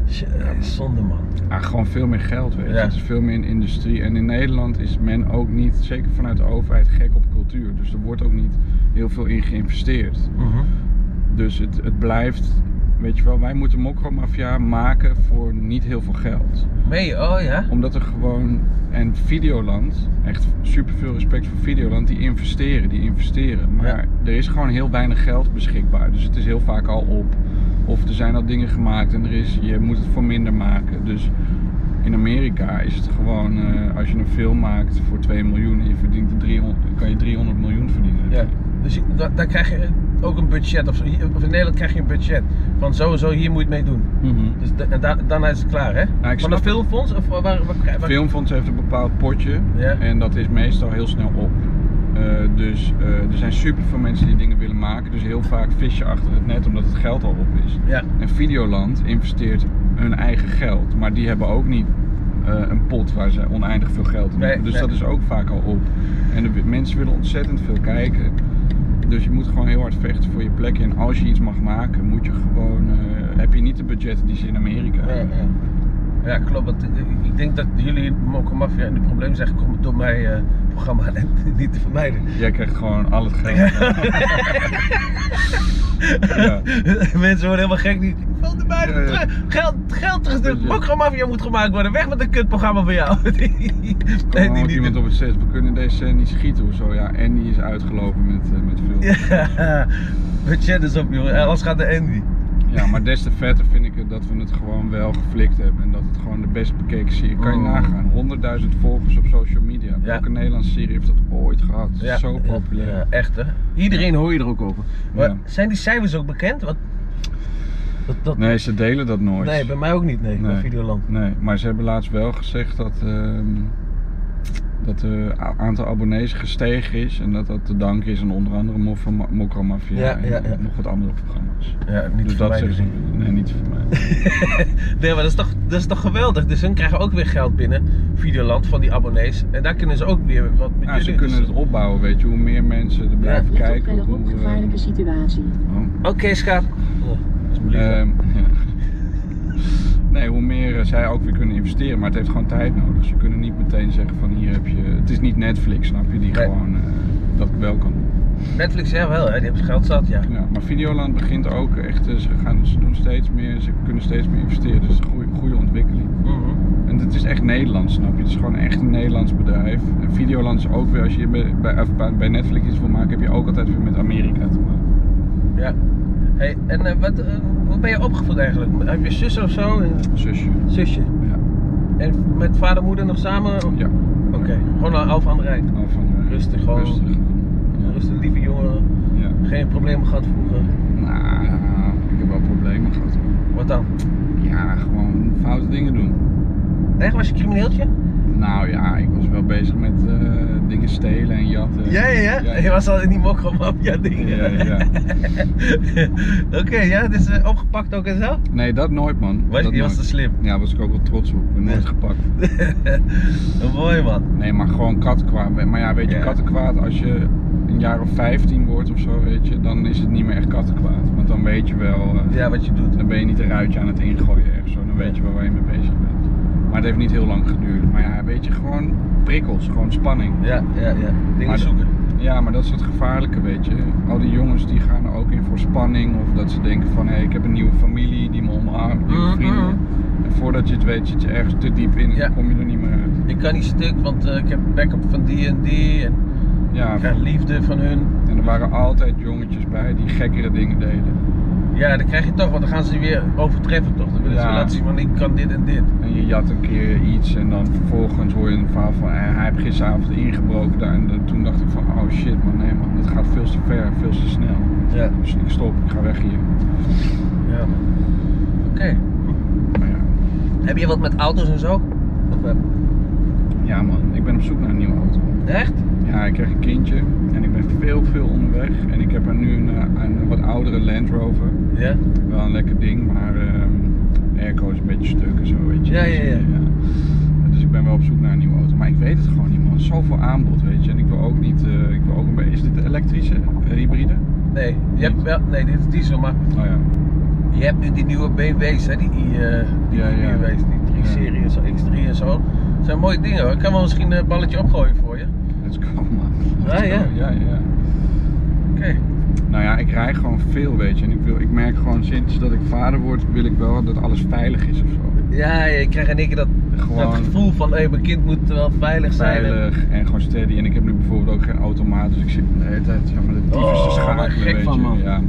Speaker 2: Tje, Zonde man.
Speaker 1: Ah, gewoon veel meer geld, weet je.
Speaker 2: Ja.
Speaker 1: Het is veel meer in industrie. En in Nederland is men ook niet, zeker vanuit de overheid, gek op cultuur. Dus er wordt ook niet heel veel in geïnvesteerd.
Speaker 2: Mhm.
Speaker 1: Dus het, het blijft, weet je wel, wij moeten Mokro-mafia maken voor niet heel veel geld.
Speaker 2: Mee, oh ja?
Speaker 1: Omdat er gewoon, en Videoland, echt superveel respect voor Videoland, die investeren, die investeren. Maar er is gewoon heel weinig geld beschikbaar. Dus het is heel vaak al op. Of er zijn al dingen gemaakt en er is, je moet het voor minder maken. Dus in Amerika is het gewoon, eh, als je een film maakt voor 2 miljoen en je verdient er 300, kan je 300 miljoen verdienen.
Speaker 2: Ja. Dus je- da- daar krijg je ook een budget. Of, zo. Hier- of in Nederland krijg je een budget. Van zo en zo, hier moet je het mee doen.
Speaker 1: Mhm.
Speaker 2: Dus da- en da- daarna is het klaar hè?
Speaker 1: ik
Speaker 2: Van
Speaker 1: snap
Speaker 2: een
Speaker 1: het.
Speaker 2: filmfonds? Of waar, waar, waar- waar-
Speaker 1: Filmfonds heeft een bepaald potje
Speaker 2: Ja.
Speaker 1: en dat is meestal heel snel op. Eh, dus eh, er zijn super veel mensen die dingen willen maken, dus heel vaak vis je achter het net omdat het geld al op is.
Speaker 2: Ja.
Speaker 1: En Videoland investeert hun eigen geld, maar die hebben ook niet eh, een pot waar ze oneindig veel geld in
Speaker 2: Nee,
Speaker 1: hebben. Dus
Speaker 2: nee.
Speaker 1: dat is ook vaak al op. En de mensen willen ontzettend veel kijken. Dus je moet gewoon heel hard vechten voor je plekje. En als je iets mag maken, moet je gewoon, eh, heb je niet de budgetten die ze in Amerika
Speaker 2: Ja,
Speaker 1: hebben.
Speaker 2: ja. Ja, klopt. Want eh, ik denk dat jullie Mokko Mafia in de probleem zijn gekomen door mijn eh, programma niet te vermijden.
Speaker 1: Jij krijgt gewoon al het geld. Ja.
Speaker 2: Mensen worden helemaal gek. Die, van de buiten
Speaker 1: Ja, ja.
Speaker 2: terug. Geld, geld terug. De
Speaker 1: Ja.
Speaker 2: programma moet gemaakt worden. Weg met een kutprogramma van jou.
Speaker 1: Kom
Speaker 2: Nee,
Speaker 1: maar met iemand op het set. We kunnen deze scène niet schieten of zo. Ja, en die is uitgelopen met, eh, met film. Ja.
Speaker 2: Ja, budget is op, jongen. Alles gaat naar Andy.
Speaker 1: maar des te vetter vind ik het dat we het gewoon wel geflikt hebben. En dat het gewoon de best bekeken serie. Kan je
Speaker 2: Oh.
Speaker 1: nagaan. 100.000 volgers op social media.
Speaker 2: Ja.
Speaker 1: Welke Nederlandse serie heeft dat ooit gehad? Het is Zo populair.
Speaker 2: Ja, echt, hè? Iedereen hoor je er ook over. Maar
Speaker 1: Ja.
Speaker 2: zijn die cijfers ook bekend? Wat, dat, dat,
Speaker 1: Nee, ze delen dat nooit.
Speaker 2: nee, bij mij ook niet, nee. Bij
Speaker 1: Nee.
Speaker 2: Videoland.
Speaker 1: Nee, maar ze hebben laatst wel gezegd dat ehm, dat het aantal abonnees gestegen is. En dat dat te danken is aan onder andere Mo- van Ma- Mokro Mafia
Speaker 2: Ja,
Speaker 1: en
Speaker 2: ja, ja.
Speaker 1: nog wat andere programma's.
Speaker 2: Ja, niet
Speaker 1: dus
Speaker 2: voor
Speaker 1: dat
Speaker 2: mij.
Speaker 1: zeggen ze- Nee, niet voor mij.
Speaker 2: Nee, maar dat is, toch, dat is toch geweldig. Dus hun krijgen ook weer geld binnen, Videoland, van die abonnees. En daar kunnen ze ook weer wat met
Speaker 1: Ja, ze
Speaker 2: jullie.
Speaker 1: kunnen het opbouwen, weet je. Hoe meer mensen er blijven
Speaker 3: Niet op
Speaker 1: kijken. hoe- eh,
Speaker 3: verderop gevaarlijke situatie.
Speaker 1: Oh.
Speaker 2: Oké, schaap. Oh, alsjeblieft.
Speaker 1: Ehm, ja. Nee, hoe meer eh, zij ook weer kunnen investeren, maar het heeft gewoon tijd nodig. Ze kunnen niet meteen zeggen van hier heb je. Het is niet Netflix, snap je? Die
Speaker 2: Nee.
Speaker 1: gewoon eh, dat wel kan. doen.
Speaker 2: Netflix, ja wel, hè. die hebben geld zat, ja.
Speaker 1: Ja, maar Videoland begint ook echt. eh, Ze, gaan, ze doen steeds meer, ze kunnen steeds meer investeren. Dus een goede, goede ontwikkeling. En het is echt Nederlands, snap je? Het is gewoon echt een Nederlands bedrijf. En Videoland is ook weer, als je bij, bij, of bij- bij Netflix iets wil maken, heb je ook altijd weer met Amerika te maken.
Speaker 2: ja. Hey, en eh, wat, eh, hoe ben je opgevoed eigenlijk? Heb je zus of zo? Een
Speaker 1: Zusje.
Speaker 2: zusje.
Speaker 1: Ja.
Speaker 2: En met vader en moeder nog samen?
Speaker 1: Ja.
Speaker 2: Oké, gewoon een Alf aan de Rijn.
Speaker 1: Al van, eh,
Speaker 2: Rustig gewoon.
Speaker 1: Rustig. Ja.
Speaker 2: Rustig, lieve jongen.
Speaker 1: Ja.
Speaker 2: Geen problemen gehad vroeger.
Speaker 1: Nou, ik heb wel problemen gehad. hoor.
Speaker 2: Wat dan?
Speaker 1: Ja, gewoon foute dingen doen.
Speaker 2: Echt, was je crimineeltje?
Speaker 1: Nou ja, ik was wel bezig met eh, dingen stelen en jatten.
Speaker 2: Je was al in die mokkelmafia ding.
Speaker 1: Ja, ja.
Speaker 2: Oké, ja, dus eh, opgepakt ook en zo?
Speaker 1: Nee, dat nooit man.
Speaker 2: Was,
Speaker 1: dat
Speaker 2: je was te
Speaker 1: nooit.
Speaker 2: slim.
Speaker 1: Ja, was ik ook wel trots op. Ik ben nooit gepakt.
Speaker 2: Mooi man.
Speaker 1: Nee, maar gewoon kattenkwaad. Maar ja, weet je,
Speaker 2: Ja.
Speaker 1: kattenkwaad als je een jaar of 15 wordt of zo, weet je, dan is het niet meer echt kattenkwaad. Want dan weet je wel, eh,
Speaker 2: Ja, wat je doet.
Speaker 1: dan ben je niet een ruitje aan het ingooien ergens zo. Dan weet je wel waar je mee bezig bent. Maar het heeft niet heel lang geduurd. Maar ja, weet je, gewoon prikkels, gewoon spanning.
Speaker 2: Ja, ja, ja. Dingen
Speaker 1: Maar-
Speaker 2: zoeken.
Speaker 1: Ja, maar dat is het gevaarlijke, weet je. Al die jongens die gaan er ook in voor spanning. Of dat ze denken van, hé, ik heb een nieuwe familie die me omarmt, nieuwe
Speaker 2: Mhm.
Speaker 1: vrienden. En voordat je het weet zit je ergens te diep in en
Speaker 2: Ja.
Speaker 1: dan kom je er niet meer uit.
Speaker 2: Ik kan niet stuk, want eh, ik heb backup van die en die. En
Speaker 1: Ja,
Speaker 2: ik krijg liefde Ah, van hun.
Speaker 1: en er waren altijd jongetjes bij die gekkere dingen deden.
Speaker 2: Ja, dan krijg je toch, want dan gaan ze je weer overtreffen toch. Dan willen ze
Speaker 1: Ja.
Speaker 2: laten zien, man, ik kan dit en dit.
Speaker 1: En je jat een keer iets en dan vervolgens hoor je een verhaal van, eh, hij heeft gisteravond ingebroken daar. En dan- toen dacht ik van, oh shit man, nee man, dit gaat veel te ver, veel te snel.
Speaker 2: Ja.
Speaker 1: Dus ik stop, ik ga weg hier.
Speaker 2: ja. Oké.
Speaker 1: Maar ja,
Speaker 2: Heb je wat met auto's en zo? Of, eh,
Speaker 1: ja man, ik ben op zoek naar een nieuwe auto.
Speaker 2: echt?
Speaker 1: Ja, ik kreeg een kindje en ik ben veel, veel onderweg. En ik heb er nu een, eh, een wat oudere Land Rover.
Speaker 2: Ja.
Speaker 1: Wel een lekker ding, maar ehm airco is een beetje stuk en zo, weet je.
Speaker 2: Ja,
Speaker 1: Dus,
Speaker 2: ja, ja.
Speaker 1: eh, Dus ik ben wel op zoek naar een nieuwe auto. Maar ik weet het gewoon niet, man. Zoveel aanbod, weet je. En ik wil ook niet, eh, ik wil ook een beetje... Is dit de elektrische, eh, hybride?
Speaker 2: Nee, je hebt wel, nee, dit is diesel, maar
Speaker 1: Oh ja.
Speaker 2: je hebt nu die nieuwe BMW's, hè, die, i, eh die
Speaker 1: Ja, ja.
Speaker 2: BMW's, die 3-serie en zo, X3 en zo. Dat zijn mooie dingen hoor. Ik kan wel misschien een balletje opgooien voor je.
Speaker 1: Let's go, man.
Speaker 2: Ja,
Speaker 1: Let's go.
Speaker 2: Ah, ja.
Speaker 1: ja, ja.
Speaker 2: Oké.
Speaker 1: Nou ja, ik rij gewoon veel, weet je. En ik, wil, ik merk gewoon sinds dat ik vader word, wil ik wel dat alles veilig is of zo.
Speaker 2: Ja, je krijgt in één keer dat,
Speaker 1: Gewoon-
Speaker 2: dat gevoel van, hé, mijn kind moet wel veilig zijn. en-
Speaker 1: veilig en gewoon steady. En ik heb nu bijvoorbeeld ook geen automaat, dus ik zit de hele tijd ja, maar de tyfus
Speaker 2: Oh,
Speaker 1: te schakelen,
Speaker 2: waar gek
Speaker 1: weet
Speaker 2: van,
Speaker 1: je.
Speaker 2: man.
Speaker 1: Ja,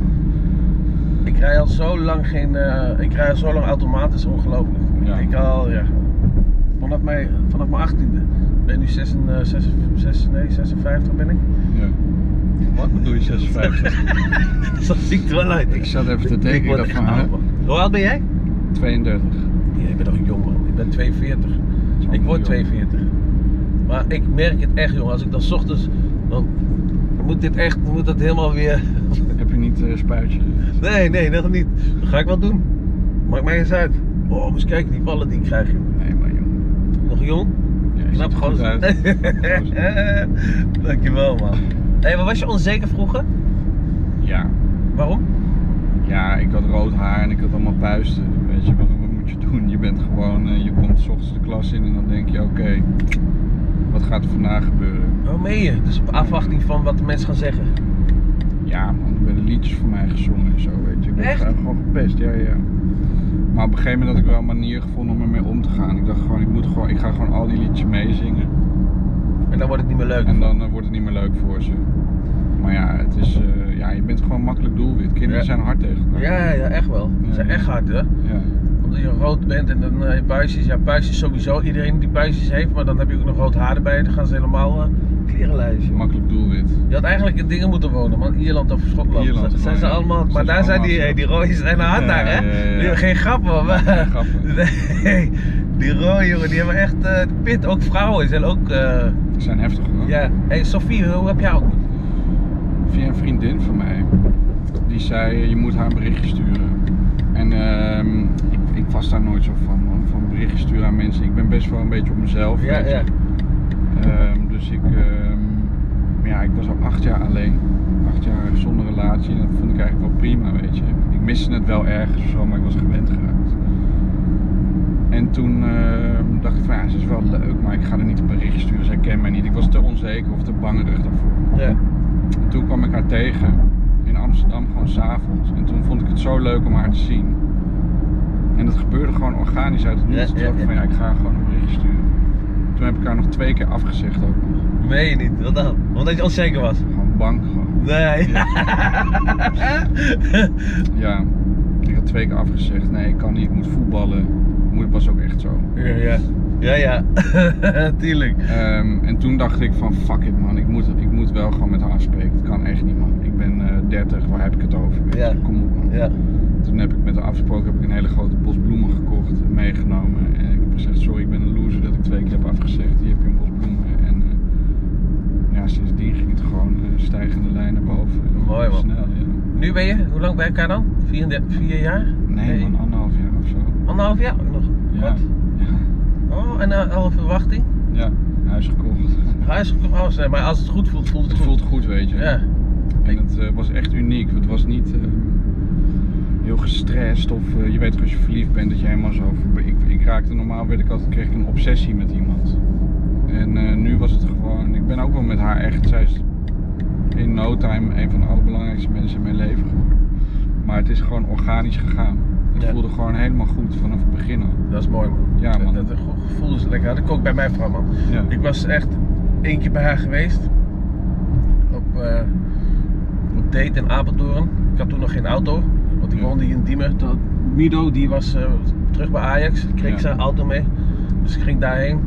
Speaker 2: Ik rij al zo lang geen, eh, ik rij al zo lang automatisch, ongelooflijk.
Speaker 1: Ja.
Speaker 2: Ik al, ja, vanaf mijn, vanaf mijn 18e. Ik ben nu 6, en, eh, 6, 6, nee, 56 ben ik.
Speaker 1: ja. Wat bedoel je 56?
Speaker 2: Zo zie ik er wel uit.
Speaker 1: ik zat even te denken, ik
Speaker 2: word
Speaker 1: dacht
Speaker 2: echt
Speaker 1: van
Speaker 2: oud,
Speaker 1: hè,
Speaker 2: man. Hoe oud ben jij?
Speaker 1: 32.
Speaker 2: Ja, ik ben nog jong man, ik ben 42.
Speaker 1: allemaal
Speaker 2: Ik word
Speaker 1: jong.
Speaker 2: 42. Maar ik merk het echt jongen, als ik dan 's ochtends, dan moet dit echt, moet dat helemaal weer...
Speaker 1: Heb je niet eh spuitje?
Speaker 2: Nee, nee, nog niet. Dat ga ik wel doen. Maakt mij eens uit. Oh, moet eens kijken die ballen die ik krijg joh.
Speaker 1: Nee, maar jongen.
Speaker 2: Nog jong?
Speaker 1: Ja, je ziet
Speaker 2: Knap
Speaker 1: er goed
Speaker 2: gozer.
Speaker 1: uit. Gozer.
Speaker 2: Dankjewel man. Hé, maar was je onzeker vroeger?
Speaker 1: ja.
Speaker 2: Waarom?
Speaker 1: ja, ik had rood haar en ik had allemaal puisten. Weet je, wat, wat moet je doen? Je bent gewoon, eh, je komt 's ochtends de klas in en dan denk je, oké, wat gaat er vandaag gebeuren?
Speaker 2: Waarom meen je? Dus op afwachting van wat de mensen gaan zeggen.
Speaker 1: Ja man, er werden liedjes voor mij gezongen en zo, weet je. Ik werd
Speaker 2: Echt?
Speaker 1: gewoon gepest, ja, ja. Maar op een gegeven moment had ik wel een manier gevonden om ermee om te gaan. Ik dacht gewoon, ik, moet gewoon, ik ga gewoon al die liedjes meezingen.
Speaker 2: En dan wordt het niet meer leuk.
Speaker 1: En dan eh, wordt het niet meer leuk voor ze. Maar ja, het is, eh, ja je bent gewoon makkelijk doelwit. Kinderen
Speaker 2: Ja.
Speaker 1: zijn hard tegen elkaar.
Speaker 2: Ja, ja, echt wel. Ze
Speaker 1: Ja,
Speaker 2: zijn
Speaker 1: ja.
Speaker 2: echt hard hè.
Speaker 1: Ja.
Speaker 2: Omdat je rood bent en dan eh buisjes. Ja, buisjes sowieso. Iedereen die buisjes heeft, maar dan heb je ook nog rood haar erbij. Dan gaan ze helemaal eh klerenlijstje.
Speaker 1: Makkelijk doelwit.
Speaker 2: Je had eigenlijk in dingen moeten wonen, man. Ierland of Schotland.
Speaker 1: Ierland,
Speaker 2: zijn
Speaker 1: gewoon,
Speaker 2: ze
Speaker 1: ja.
Speaker 2: allemaal.
Speaker 1: Zijn
Speaker 2: Maar
Speaker 1: ze
Speaker 2: daar zijn
Speaker 1: allemaal
Speaker 2: die,
Speaker 1: zo.
Speaker 2: die rode zijn hard
Speaker 1: Ja,
Speaker 2: daar, hè?
Speaker 1: ja, ja, ja.
Speaker 2: Die- Geen grap, man.
Speaker 1: Geen grappen.
Speaker 2: Nee. Die rode jongen, die hebben echt eh, de pit. Ook vrouwen zijn ook. eh,
Speaker 1: Ze zijn heftig hoor.
Speaker 2: ja. hey, Sofie, hoe heb jij ook?
Speaker 1: Via een vriendin van mij. Die zei, eh, je moet haar een berichtje sturen. En ehm, ik, ik was daar nooit zo van, man. Van berichtjes sturen aan mensen. Ik ben best wel een beetje op mezelf.
Speaker 2: Ja,
Speaker 1: weet je.
Speaker 2: ja.
Speaker 1: Ehm, dus ik, ehm, maar ja, ik was al acht jaar alleen. Acht jaar zonder relatie. En dat vond ik eigenlijk wel prima, weet je. Ik miste het wel ergens of zo, maar ik was gewend geraakt. En toen ehm, dacht ik van ja, ze is wel leuk, maar ik ga er niet een berichtje sturen. Zij kent mij niet. Ik was te onzeker of te bangerig daarvoor.
Speaker 2: Ja.
Speaker 1: En toen kwam ik haar tegen in Amsterdam, gewoon s'avonds. En toen vond ik het zo leuk om haar te zien. En dat gebeurde gewoon organisch uit het
Speaker 2: Ja,
Speaker 1: niets. Toen
Speaker 2: ja,
Speaker 1: dacht ik
Speaker 2: ja.
Speaker 1: van ja, ik ga haar gewoon een berichtje sturen. Toen heb ik haar nog twee keer afgezegd ook nog.
Speaker 2: Meen je niet, wat dan? Omdat je onzeker was.
Speaker 1: Gewoon bang gewoon.
Speaker 2: Nee.
Speaker 1: Ja, ik had twee keer afgezegd. Nee, ik kan niet, ik moet voetballen. Moeder was ook echt zo.
Speaker 2: Ja, ja. Ja, ja. Tuurlijk.
Speaker 1: Ehm, en toen dacht ik van fuck it man, ik moet, ik moet wel gewoon met haar afspreken. Het kan echt niet man. Ik ben eh 30, waar heb ik het over? Weet je?
Speaker 2: Ja.
Speaker 1: Kom op man.
Speaker 2: Ja.
Speaker 1: Toen heb ik met haar afgesproken, heb ik een hele grote bos bloemen gekocht en meegenomen. En ik heb gezegd, sorry, ik ben een loser dat ik twee keer heb afgezegd. Hier heb je een bos bloemen. En eh, ja, sindsdien ging het gewoon eh, stijgende lijn naar boven.
Speaker 2: Mooi, man.
Speaker 1: Snel, ja.
Speaker 2: Nu ben je, hoe lang bij elkaar dan? 34, 4 jaar?
Speaker 1: Nee man, anderhalf jaar of zo.
Speaker 2: Anderhalf jaar nog?
Speaker 1: Ja.
Speaker 2: Wat? Oh, en een halve verwachting?
Speaker 1: Ja, huis gekocht.
Speaker 2: Huis of huis? Nee, oh, maar als het goed voelt, voelt het
Speaker 1: Het
Speaker 2: goed.
Speaker 1: voelt goed, weet je.
Speaker 2: Ja.
Speaker 1: En het eh, was echt uniek. Het was niet eh, heel gestrest of eh, je weet toch als je verliefd bent dat je helemaal zo... Ik, ik raakte normaal, werd ik altijd, kreeg ik een obsessie met iemand. En eh, nu was het gewoon... Ik ben ook wel met haar echt... Zij is in no time een van de allerbelangrijkste mensen in mijn leven geworden. Maar het is gewoon organisch gegaan. Het
Speaker 2: Ja.
Speaker 1: voelde gewoon helemaal goed vanaf het begin al.
Speaker 2: Dat is mooi, man.
Speaker 1: Ja, man.
Speaker 2: Dat, dat gevoel is lekker. Dat ook bij mijn vrouw, man.
Speaker 1: Ja.
Speaker 2: Ik was echt één keer bij haar geweest. Op, eh, op date in Apeldoorn. Ik had toen nog geen auto. Want ik
Speaker 1: Ja.
Speaker 2: woonde hier in Diemen. Toen- Mido die was eh, terug bij Ajax. Toen kreeg ik
Speaker 1: Ja.
Speaker 2: zijn auto mee. Dus ik ging daarheen.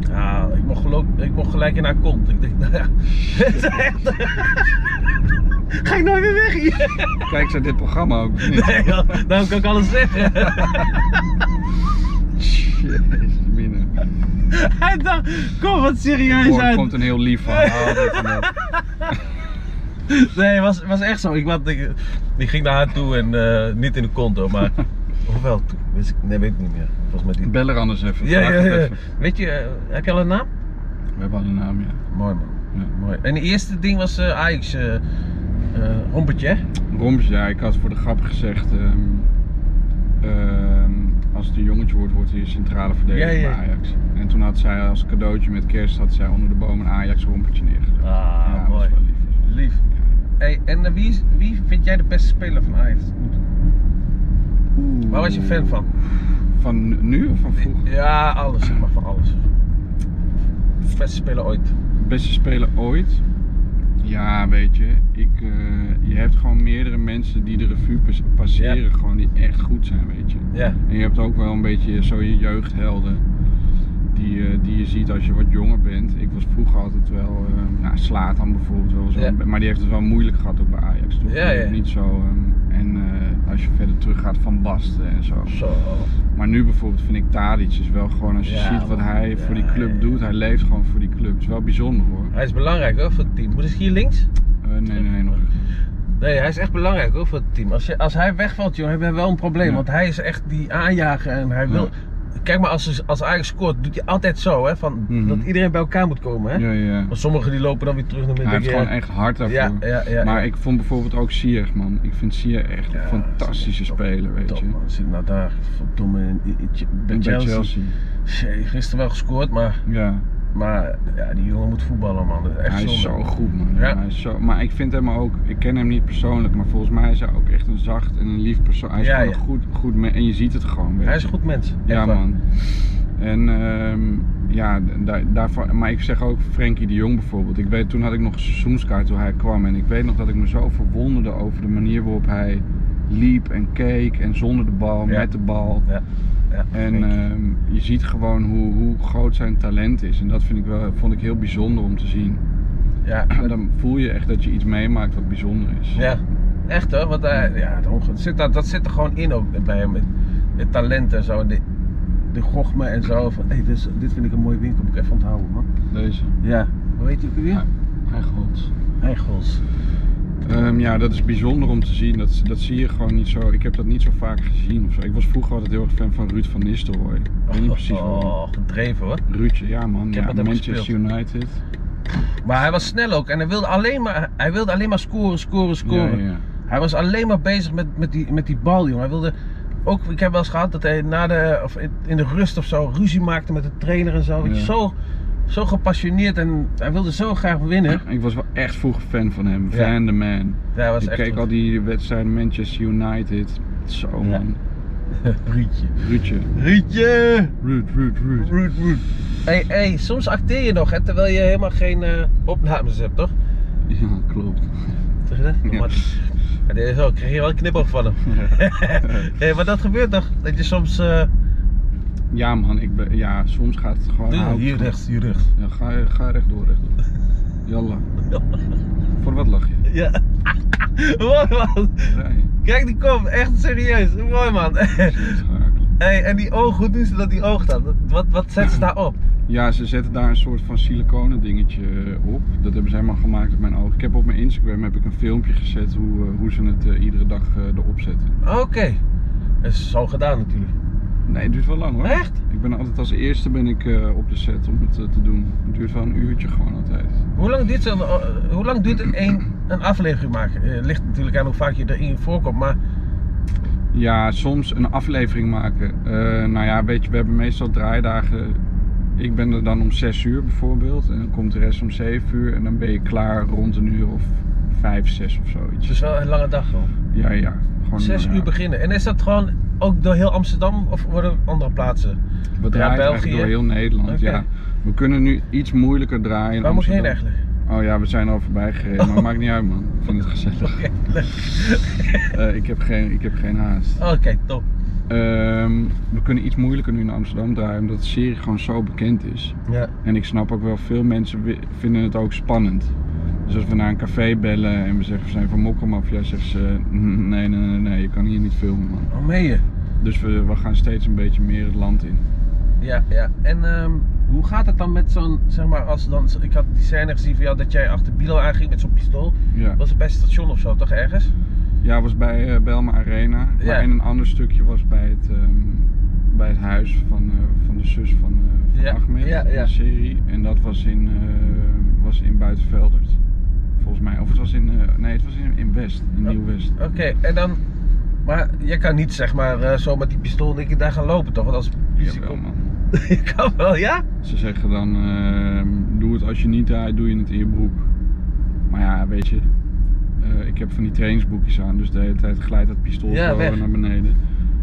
Speaker 2: Ja, ik, mocht gelo- ik mocht gelijk in haar kont. Ik dacht, nou ja. Het is echt... Ga ik nooit meer weg hier?
Speaker 1: Kijk, zij dit programma ook? of niet?
Speaker 2: Nee, joh, daarom kan ik alles zeggen.
Speaker 1: Jezus, mine.
Speaker 2: Hij dacht, kom wat serieus
Speaker 1: Er
Speaker 2: uit.
Speaker 1: komt een heel lief verhaal. dit en dat.
Speaker 2: Nee, het was, was echt zo. Ik, wat, ik, die ging naar haar toe en eh, niet in de konto, maar. Hoewel, toen wist ik, nee, weet ik niet meer. Volgens mij die.
Speaker 1: Bel er anders even.
Speaker 2: Ja,
Speaker 1: vraag
Speaker 2: ja,
Speaker 1: het
Speaker 2: ja.
Speaker 1: even.
Speaker 2: Weet je, eh, heb je al een naam?
Speaker 1: We hebben al een naam, ja.
Speaker 2: Mooi man.
Speaker 1: Ja.
Speaker 2: Mooi. En het eerste ding was eh Ajax eh eh, rompertje, hè?
Speaker 1: Roms, ja, ik had voor de grap gezegd. ehm, ehm, als het een jongetje wordt, wordt hij centrale verdediger
Speaker 2: Ja, ja.
Speaker 1: bij Ajax. En toen had zij als cadeautje met kerst had zij onder de boom een Ajax rompertje neergelegd.
Speaker 2: Ah,
Speaker 1: ja, dat
Speaker 2: mooi.
Speaker 1: was wel lief. dat was wel lief.
Speaker 2: Lief. Hey, en eh, wie, is- wie vind jij de beste speler van Ajax? Waar was je fan van?
Speaker 1: Van nu of van vroeger?
Speaker 2: Ja, alles, zeg maar van alles. Beste speler ooit.
Speaker 1: Beste speler ooit? Ja, weet je. Ik, eh, je hebt gewoon meerdere mensen die de revue pas- passeren,
Speaker 2: Ja.
Speaker 1: gewoon die echt goed zijn, weet je.
Speaker 2: Ja.
Speaker 1: En je hebt ook wel een beetje zo je jeugdhelden. Die, eh, die je ziet als je wat jonger bent. Ik was vroeger altijd wel. eh nou, slaat dan bijvoorbeeld wel zo.
Speaker 2: Ja.
Speaker 1: Maar die heeft het wel moeilijk gehad ook bij Ajax. Toch?
Speaker 2: Ja,
Speaker 1: Die heeft
Speaker 2: ja.
Speaker 1: Niet zo. ehm, en eh, als je verder terug gaat van Basten en zo.
Speaker 2: Zo.
Speaker 1: Maar nu bijvoorbeeld vind ik Tadic is wel gewoon. Als je
Speaker 2: Ja,
Speaker 1: ziet wat
Speaker 2: man.
Speaker 1: hij voor die
Speaker 2: Ja,
Speaker 1: club
Speaker 2: ja.
Speaker 1: doet. Hij leeft gewoon voor die club. Het is wel bijzonder hoor.
Speaker 2: Hij is belangrijk hoor voor het team. Moet ik hier links?
Speaker 1: Eh, nee, nee, nee, nog.
Speaker 2: Nee, hij is echt belangrijk hoor voor het team. Als, je, als hij wegvalt, joh, hebben we wel een probleem.
Speaker 1: Ja.
Speaker 2: Want hij is echt die aanjager en hij wil. Kijk maar, als, als Ajax scoort, doet hij altijd zo, hè? Van,
Speaker 1: Mhm.
Speaker 2: Dat iedereen bij elkaar moet komen, hè?
Speaker 1: Ja, ja.
Speaker 2: Maar sommigen die lopen dan weer terug naar
Speaker 1: Hij
Speaker 2: midden.
Speaker 1: heeft gewoon echt hard daarvoor.
Speaker 2: eh, ja, ja, ja, ja.
Speaker 1: maar ik vond bijvoorbeeld ook Sier, man. Ik vind Sier echt
Speaker 2: Ja,
Speaker 1: een fantastische
Speaker 2: top,
Speaker 1: speler, weet
Speaker 2: Top
Speaker 1: je.
Speaker 2: man, zit nou daar, verdomme, in, in, in- bij
Speaker 1: En bij
Speaker 2: Chelsea.
Speaker 1: Chelsea.
Speaker 2: Jee, gisteren wel gescoord, maar,
Speaker 1: Ja,
Speaker 2: maar ja, die jongen moet voetballen, man. Echt
Speaker 1: hij is
Speaker 2: zonde.
Speaker 1: zo goed, man.
Speaker 2: Ja.
Speaker 1: Hij is zo, maar ik vind hem ook, ik ken hem niet persoonlijk, maar volgens mij is hij ook echt een zacht en een lief persoon. Hij is
Speaker 2: Ja,
Speaker 1: gewoon
Speaker 2: ja.
Speaker 1: een goed, goed man. En je ziet het gewoon. Weet
Speaker 2: Hij is
Speaker 1: je.
Speaker 2: een goed mens.
Speaker 1: Ja,
Speaker 2: echt waar.
Speaker 1: man. En ehm, ja, daar, daarvan, maar ik zeg ook Frenkie de Jong bijvoorbeeld. Ik weet, toen had ik nog een seizoenskaart toen hij kwam. En ik weet nog dat ik me zo verwonderde over de manier waarop hij liep en keek. En zonder de bal,
Speaker 2: Ja.
Speaker 1: met de bal.
Speaker 2: Ja,
Speaker 1: En
Speaker 2: Frenkie.
Speaker 1: ehm, je ziet gewoon hoe, hoe groot zijn talent is. En dat vind ik wel, vond ik heel bijzonder om te zien.
Speaker 2: ja,
Speaker 1: En dan voel je echt dat je iets meemaakt wat bijzonder is.
Speaker 2: Ja, echt hoor. eh, Want hij, ja, het onge- zit, dat, dat zit er gewoon in ook bij hem. Het, het talent en zo. en die- die gochme en zo. Van, hey, dit, is- dit vind ik een mooie winkel, moet ik even onthouden, man.
Speaker 1: Deze.
Speaker 2: Ja. Hoe heet die ook weer?
Speaker 1: Eichholz.
Speaker 2: Eichels.
Speaker 1: Ehm, ja, dat is bijzonder om te zien. Dat, dat zie je gewoon niet zo. Ik heb dat niet zo vaak gezien. Of zo. Ik was vroeger altijd heel erg fan van Ruud van Nistelrooy. Ik weet niet precies waarom.
Speaker 2: Oh, gedreven hoor.
Speaker 1: Ruudje, ja man.
Speaker 2: Ik heb
Speaker 1: Ja,
Speaker 2: met hem
Speaker 1: Manchester
Speaker 2: gespeeld.
Speaker 1: United.
Speaker 2: Maar hij was snel ook en hij wilde alleen maar, hij wilde alleen maar scoren, scoren,
Speaker 1: Ja,
Speaker 2: scoren.
Speaker 1: ja, ja.
Speaker 2: Hij was alleen maar bezig met, met, die, met die bal, jongen. Hij wilde ook, ik heb wel eens gehad dat hij na de, of in- in de rust of zo ruzie maakte met de trainer en zo. Weet je,
Speaker 1: Ja.
Speaker 2: Zo, zo gepassioneerd en hij wilde zo graag winnen.
Speaker 1: Ik was wel echt vroeger fan van hem.
Speaker 2: Ja.
Speaker 1: Van de man.
Speaker 2: Ja, hij was
Speaker 1: ik
Speaker 2: echt
Speaker 1: keek
Speaker 2: goed.
Speaker 1: al die wedstrijden Manchester United. Zo
Speaker 2: Ja.
Speaker 1: man.
Speaker 2: Rietje.
Speaker 1: Ruudje.
Speaker 2: Rietje!
Speaker 1: Ruud, Ruud, Ruud.
Speaker 2: Root, root. Hey, hey, soms acteer je nog, hè, terwijl je helemaal geen eh, opnames hebt, toch?
Speaker 1: Ja, klopt.
Speaker 2: Zeg je dat?
Speaker 1: Ja.
Speaker 2: Maar, ja, dit is wel, ik kreeg je wel een knipoog van hem. hey, maar dat gebeurt toch? Dat je soms... eh,
Speaker 1: Ja man, ik ben, ja, soms gaat het gewoon...
Speaker 2: doe-
Speaker 1: houdt
Speaker 2: Ah, hier
Speaker 1: het
Speaker 2: rechts, hier rechts.
Speaker 1: Ja, ga, ga rechtdoor, rechtdoor. Jalla. Voor wat lach je?
Speaker 2: Ja. Mooi man.
Speaker 1: Rijden.
Speaker 2: Kijk die kop, echt serieus. Mooi man.
Speaker 1: Schakelen.
Speaker 2: hey, en die oog, hoe doen ze dat die oog dan? Wat, wat zetten ze daarop?
Speaker 1: Ja, ze zetten daar een soort van siliconen dingetje eh, op. Dat hebben ze helemaal gemaakt op mijn oog. Ik heb op mijn Instagram heb ik een filmpje gezet hoe, eh, hoe ze het eh, iedere dag eh, erop zetten.
Speaker 2: Oké. Dat is zo gedaan natuurlijk.
Speaker 1: Nee, het duurt wel lang hoor.
Speaker 2: Echt?
Speaker 1: Ik ben altijd als eerste ben ik eh, op de set om het eh, te doen. Het duurt wel een uurtje gewoon altijd.
Speaker 2: Hoe lang duurt, zo'n, eh, hoe lang duurt een, een, een aflevering maken? Eh, ligt natuurlijk aan hoe vaak je erin voorkomt, maar
Speaker 1: Ja, soms een aflevering maken. Eh, nou ja, weet je, we hebben meestal draaidagen. Ik ben er dan om 6 uur bijvoorbeeld. En dan komt de rest om 7 uur. En dan ben je klaar rond een uur of 5, 6 of
Speaker 2: het
Speaker 1: zoiets.
Speaker 2: is wel een lange dag gewoon.
Speaker 1: Ja, ja. Gewoon,
Speaker 2: Zes
Speaker 1: nou ja,
Speaker 2: uur beginnen. En is dat gewoon ook door heel Amsterdam of worden er andere plaatsen?
Speaker 1: We draaien
Speaker 2: België.
Speaker 1: eigenlijk door heel Nederland.
Speaker 2: Oké.
Speaker 1: Ja. We kunnen nu iets moeilijker draaien. in
Speaker 2: Waar moet je heen
Speaker 1: Amsterdam.
Speaker 2: eigenlijk? Oh.
Speaker 1: Oh ja, we zijn al voorbij gereden. Maar maakt niet uit, man. Ik vind het gezellig.
Speaker 2: Oké, leuk. Oh.
Speaker 1: Eh, ik, heb geen, ik heb geen haast.
Speaker 2: Oké, top.
Speaker 1: Ehm, we kunnen iets moeilijker nu in Amsterdam draaien. Omdat de serie gewoon zo bekend is.
Speaker 2: Ja.
Speaker 1: En ik snap ook wel, veel mensen wi- vinden het ook spannend. Dus als we naar een café bellen en we zeggen we zijn van Mokkelmafia, zeggen ze "Mm, nee, nee, nee, nee, je kan hier niet filmen man.
Speaker 2: Oh, meen je?
Speaker 1: Dus we, we gaan steeds een beetje meer het land in.
Speaker 2: Ja, ja. En ehm, hoe gaat het dan met zo'n, zeg maar, als dan, ik had die scène gezien van jou dat jij achter Bilo aanging met zo'n pistool.
Speaker 1: Ja,
Speaker 2: Was het bij het station of zo, toch ergens?
Speaker 1: ja was bij eh, Belma Arena.
Speaker 2: Ja.
Speaker 1: Maar en een ander stukje was bij het, ehm, bij het huis van, eh, van de zus van, eh, van
Speaker 2: Ja,
Speaker 1: Ahmed,
Speaker 2: ja, ja.
Speaker 1: de serie. En dat was in, eh, was in Buitenveldert, volgens mij. Of het was in, eh, nee, het was in, in West, in
Speaker 2: Oh.
Speaker 1: Nieuw-West.
Speaker 2: Oké, en dan, maar je kan niet zeg maar eh, zo met die pistool en ik daar gaan lopen toch? Want als politie
Speaker 1: Jawel,
Speaker 2: komt-
Speaker 1: man.
Speaker 2: je kan wel, ja?
Speaker 1: Ze zeggen dan, ehm, doe het als je niet draait, doe je het in je broek. Maar ja, weet je, eh, ik heb van die trainingsboekjes aan, dus de hele tijd glijdt dat pistool
Speaker 2: Ja,
Speaker 1: zo
Speaker 2: weg.
Speaker 1: naar beneden.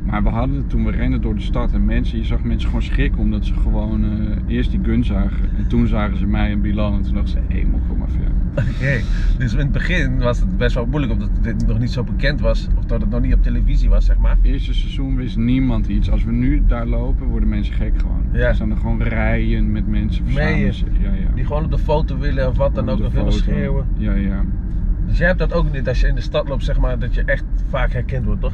Speaker 1: Maar we hadden het toen we renden door de stad en mensen, je zag mensen gewoon schrikken omdat ze gewoon eh, eerst die gun zagen. En toen zagen ze mij en Bilal en toen dachten ze, hé, hey, mokko maar ver.
Speaker 2: Oké, dus in het begin was het best wel moeilijk omdat dit nog niet zo bekend was of dat het nog niet op televisie was zeg maar.
Speaker 1: Eerste seizoen wist niemand iets. Als we nu daar lopen, worden mensen gek gewoon.
Speaker 2: Ja.
Speaker 1: Er staan er gewoon rijen met mensen verzamelen
Speaker 2: Meen je?
Speaker 1: zich. Ja, ja.
Speaker 2: Die gewoon op de foto willen of wat dan ook,
Speaker 1: Op de
Speaker 2: of willen
Speaker 1: foto.
Speaker 2: schreeuwen.
Speaker 1: Ja, ja.
Speaker 2: Dus jij hebt dat ook niet als je in de stad loopt zeg maar, dat je echt vaak herkend wordt toch?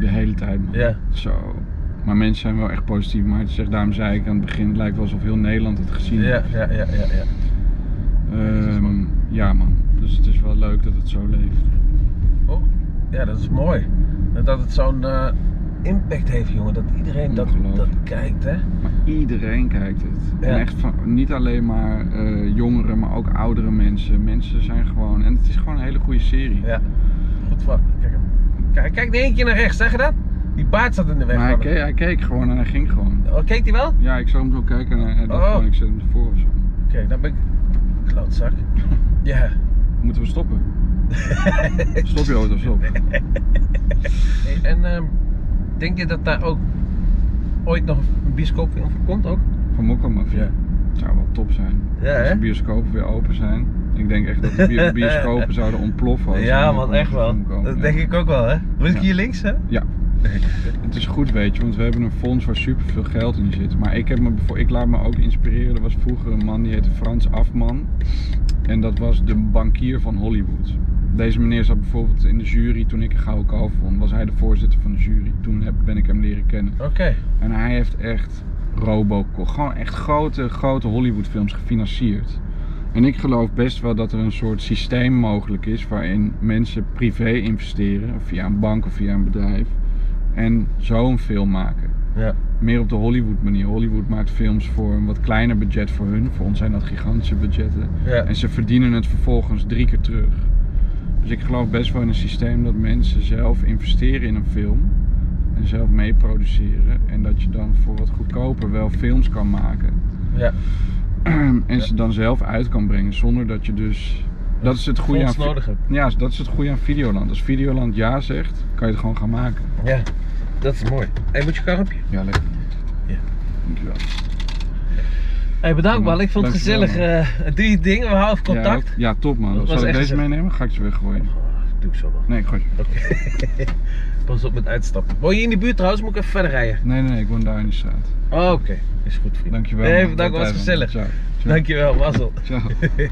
Speaker 1: De hele tijd, man.
Speaker 2: Ja.
Speaker 1: Zo. Maar mensen zijn wel echt positief. Maar het zegt, daarom zei ik aan het begin, het lijkt wel alsof heel Nederland het gezien
Speaker 2: Ja,
Speaker 1: heeft.
Speaker 2: ja, ja, ja, ja.
Speaker 1: Ehm, ja, man. Dus het is wel leuk dat het zo leeft.
Speaker 2: Oh, ja, dat is mooi. En Dat het zo'n eh, impact heeft, jongen. Dat iedereen dat, dat
Speaker 1: Ongelooflijk.
Speaker 2: kijkt, hè?
Speaker 1: Maar iedereen kijkt het.
Speaker 2: Ja.
Speaker 1: En echt van, niet alleen maar eh, jongeren, maar ook oudere mensen. Mensen zijn gewoon... En het is gewoon een hele goede serie.
Speaker 2: Ja. Goed van. Kijk, hem. kijk, kijk in één keer naar rechts, zeg je dat? Die baard zat in de weg.
Speaker 1: maar hij
Speaker 2: van hem.
Speaker 1: keek, hij keek gewoon en hij ging gewoon.
Speaker 2: Oh, keek die wel? Oké,
Speaker 1: Ja, ik zou hem zo kijken en hij- hij dacht
Speaker 2: Oh.
Speaker 1: gewoon, ik zet hem ervoor of zo.
Speaker 2: dan ben ik. Klootzak. Ja.
Speaker 1: Moeten we stoppen? Stop je auto, stop.
Speaker 2: Hey, en ehm, denk je dat daar ook ooit nog een bioscoopfilm voor komt ook?
Speaker 1: Van Mokkelmafia.
Speaker 2: Ja.
Speaker 1: Het zou wel top zijn.
Speaker 2: Ja,
Speaker 1: Als
Speaker 2: hè?
Speaker 1: de bioscopen weer open zijn. Ik denk echt dat de bi- bioscopen zouden ontploffen. als er
Speaker 2: ja,
Speaker 1: een
Speaker 2: man,
Speaker 1: Hongkongse
Speaker 2: echt wel.
Speaker 1: film komt.
Speaker 2: Dat
Speaker 1: Ja.
Speaker 2: denk ik ook wel, hè? Moet ik
Speaker 1: Ja.
Speaker 2: hier links, hè?
Speaker 1: Ja. Het is goed, weet je, want we hebben een fonds waar superveel geld in zit. Maar ik, heb me, bevo- ik laat me ook inspireren. Er was vroeger een man die heette Frans Afman. En dat was de bankier van Hollywood. Deze meneer zat bijvoorbeeld in de jury toen ik een gouden kalf won. Was hij de voorzitter van de jury. Toen heb, ben ik hem leren kennen.
Speaker 2: Oké.
Speaker 1: En hij heeft echt Robocop. Gewoon echt grote, grote Hollywoodfilms gefinancierd. En ik geloof best wel dat er een soort systeem mogelijk is waarin mensen privé investeren, via een bank of via een bedrijf, en zo'n film maken.
Speaker 2: Ja.
Speaker 1: Meer op de Hollywood manier. Hollywood maakt films voor een wat kleiner budget voor hun. Voor ons zijn dat gigantische budgetten.
Speaker 2: Ja.
Speaker 1: En ze verdienen het vervolgens drie keer terug. Dus ik geloof best wel in een systeem dat mensen zelf investeren in een film. En zelf mee produceren. En dat je dan voor wat goedkoper wel films kan maken.
Speaker 2: ja.
Speaker 1: en
Speaker 2: Ja.
Speaker 1: ze dan zelf uit kan brengen. Zonder dat je dus. Dat is het goede
Speaker 2: Fonds
Speaker 1: aan.
Speaker 2: nodig hebt.
Speaker 1: Ja, dat is het goede aan Videoland. Als Videoland ja zegt, kan je het gewoon gaan maken.
Speaker 2: Ja, dat is mooi. Hé, moet je karretje?
Speaker 1: Ja, lekker.
Speaker 2: Ja.
Speaker 1: Dankjewel.
Speaker 2: Hey, bedankt man, ik vond het
Speaker 1: Dankjewel,
Speaker 2: gezellig. eh drie dingen, we houden contact.
Speaker 1: Ja, ja, top man.
Speaker 2: Dat was
Speaker 1: Zal ik
Speaker 2: echt
Speaker 1: deze
Speaker 2: gezellig.
Speaker 1: meenemen? Ga ik ze weggooien?
Speaker 2: Oh, doe ik zo wel.
Speaker 1: Nee, ik gooi ze.
Speaker 2: Oké. Pas op met uitstappen. Woon je in de buurt trouwens? Moet ik even verder rijden?
Speaker 1: Nee, nee, nee, ik woon daar in de straat.
Speaker 2: Oh, Oké, is goed vriend.
Speaker 1: Dankjewel.
Speaker 2: Nee,
Speaker 1: man.
Speaker 2: bedankt,
Speaker 1: Tot
Speaker 2: was
Speaker 1: daar dan.
Speaker 2: gezellig.
Speaker 1: Ciao. Ciao.
Speaker 2: Dankjewel, Marcel.
Speaker 1: Ciao.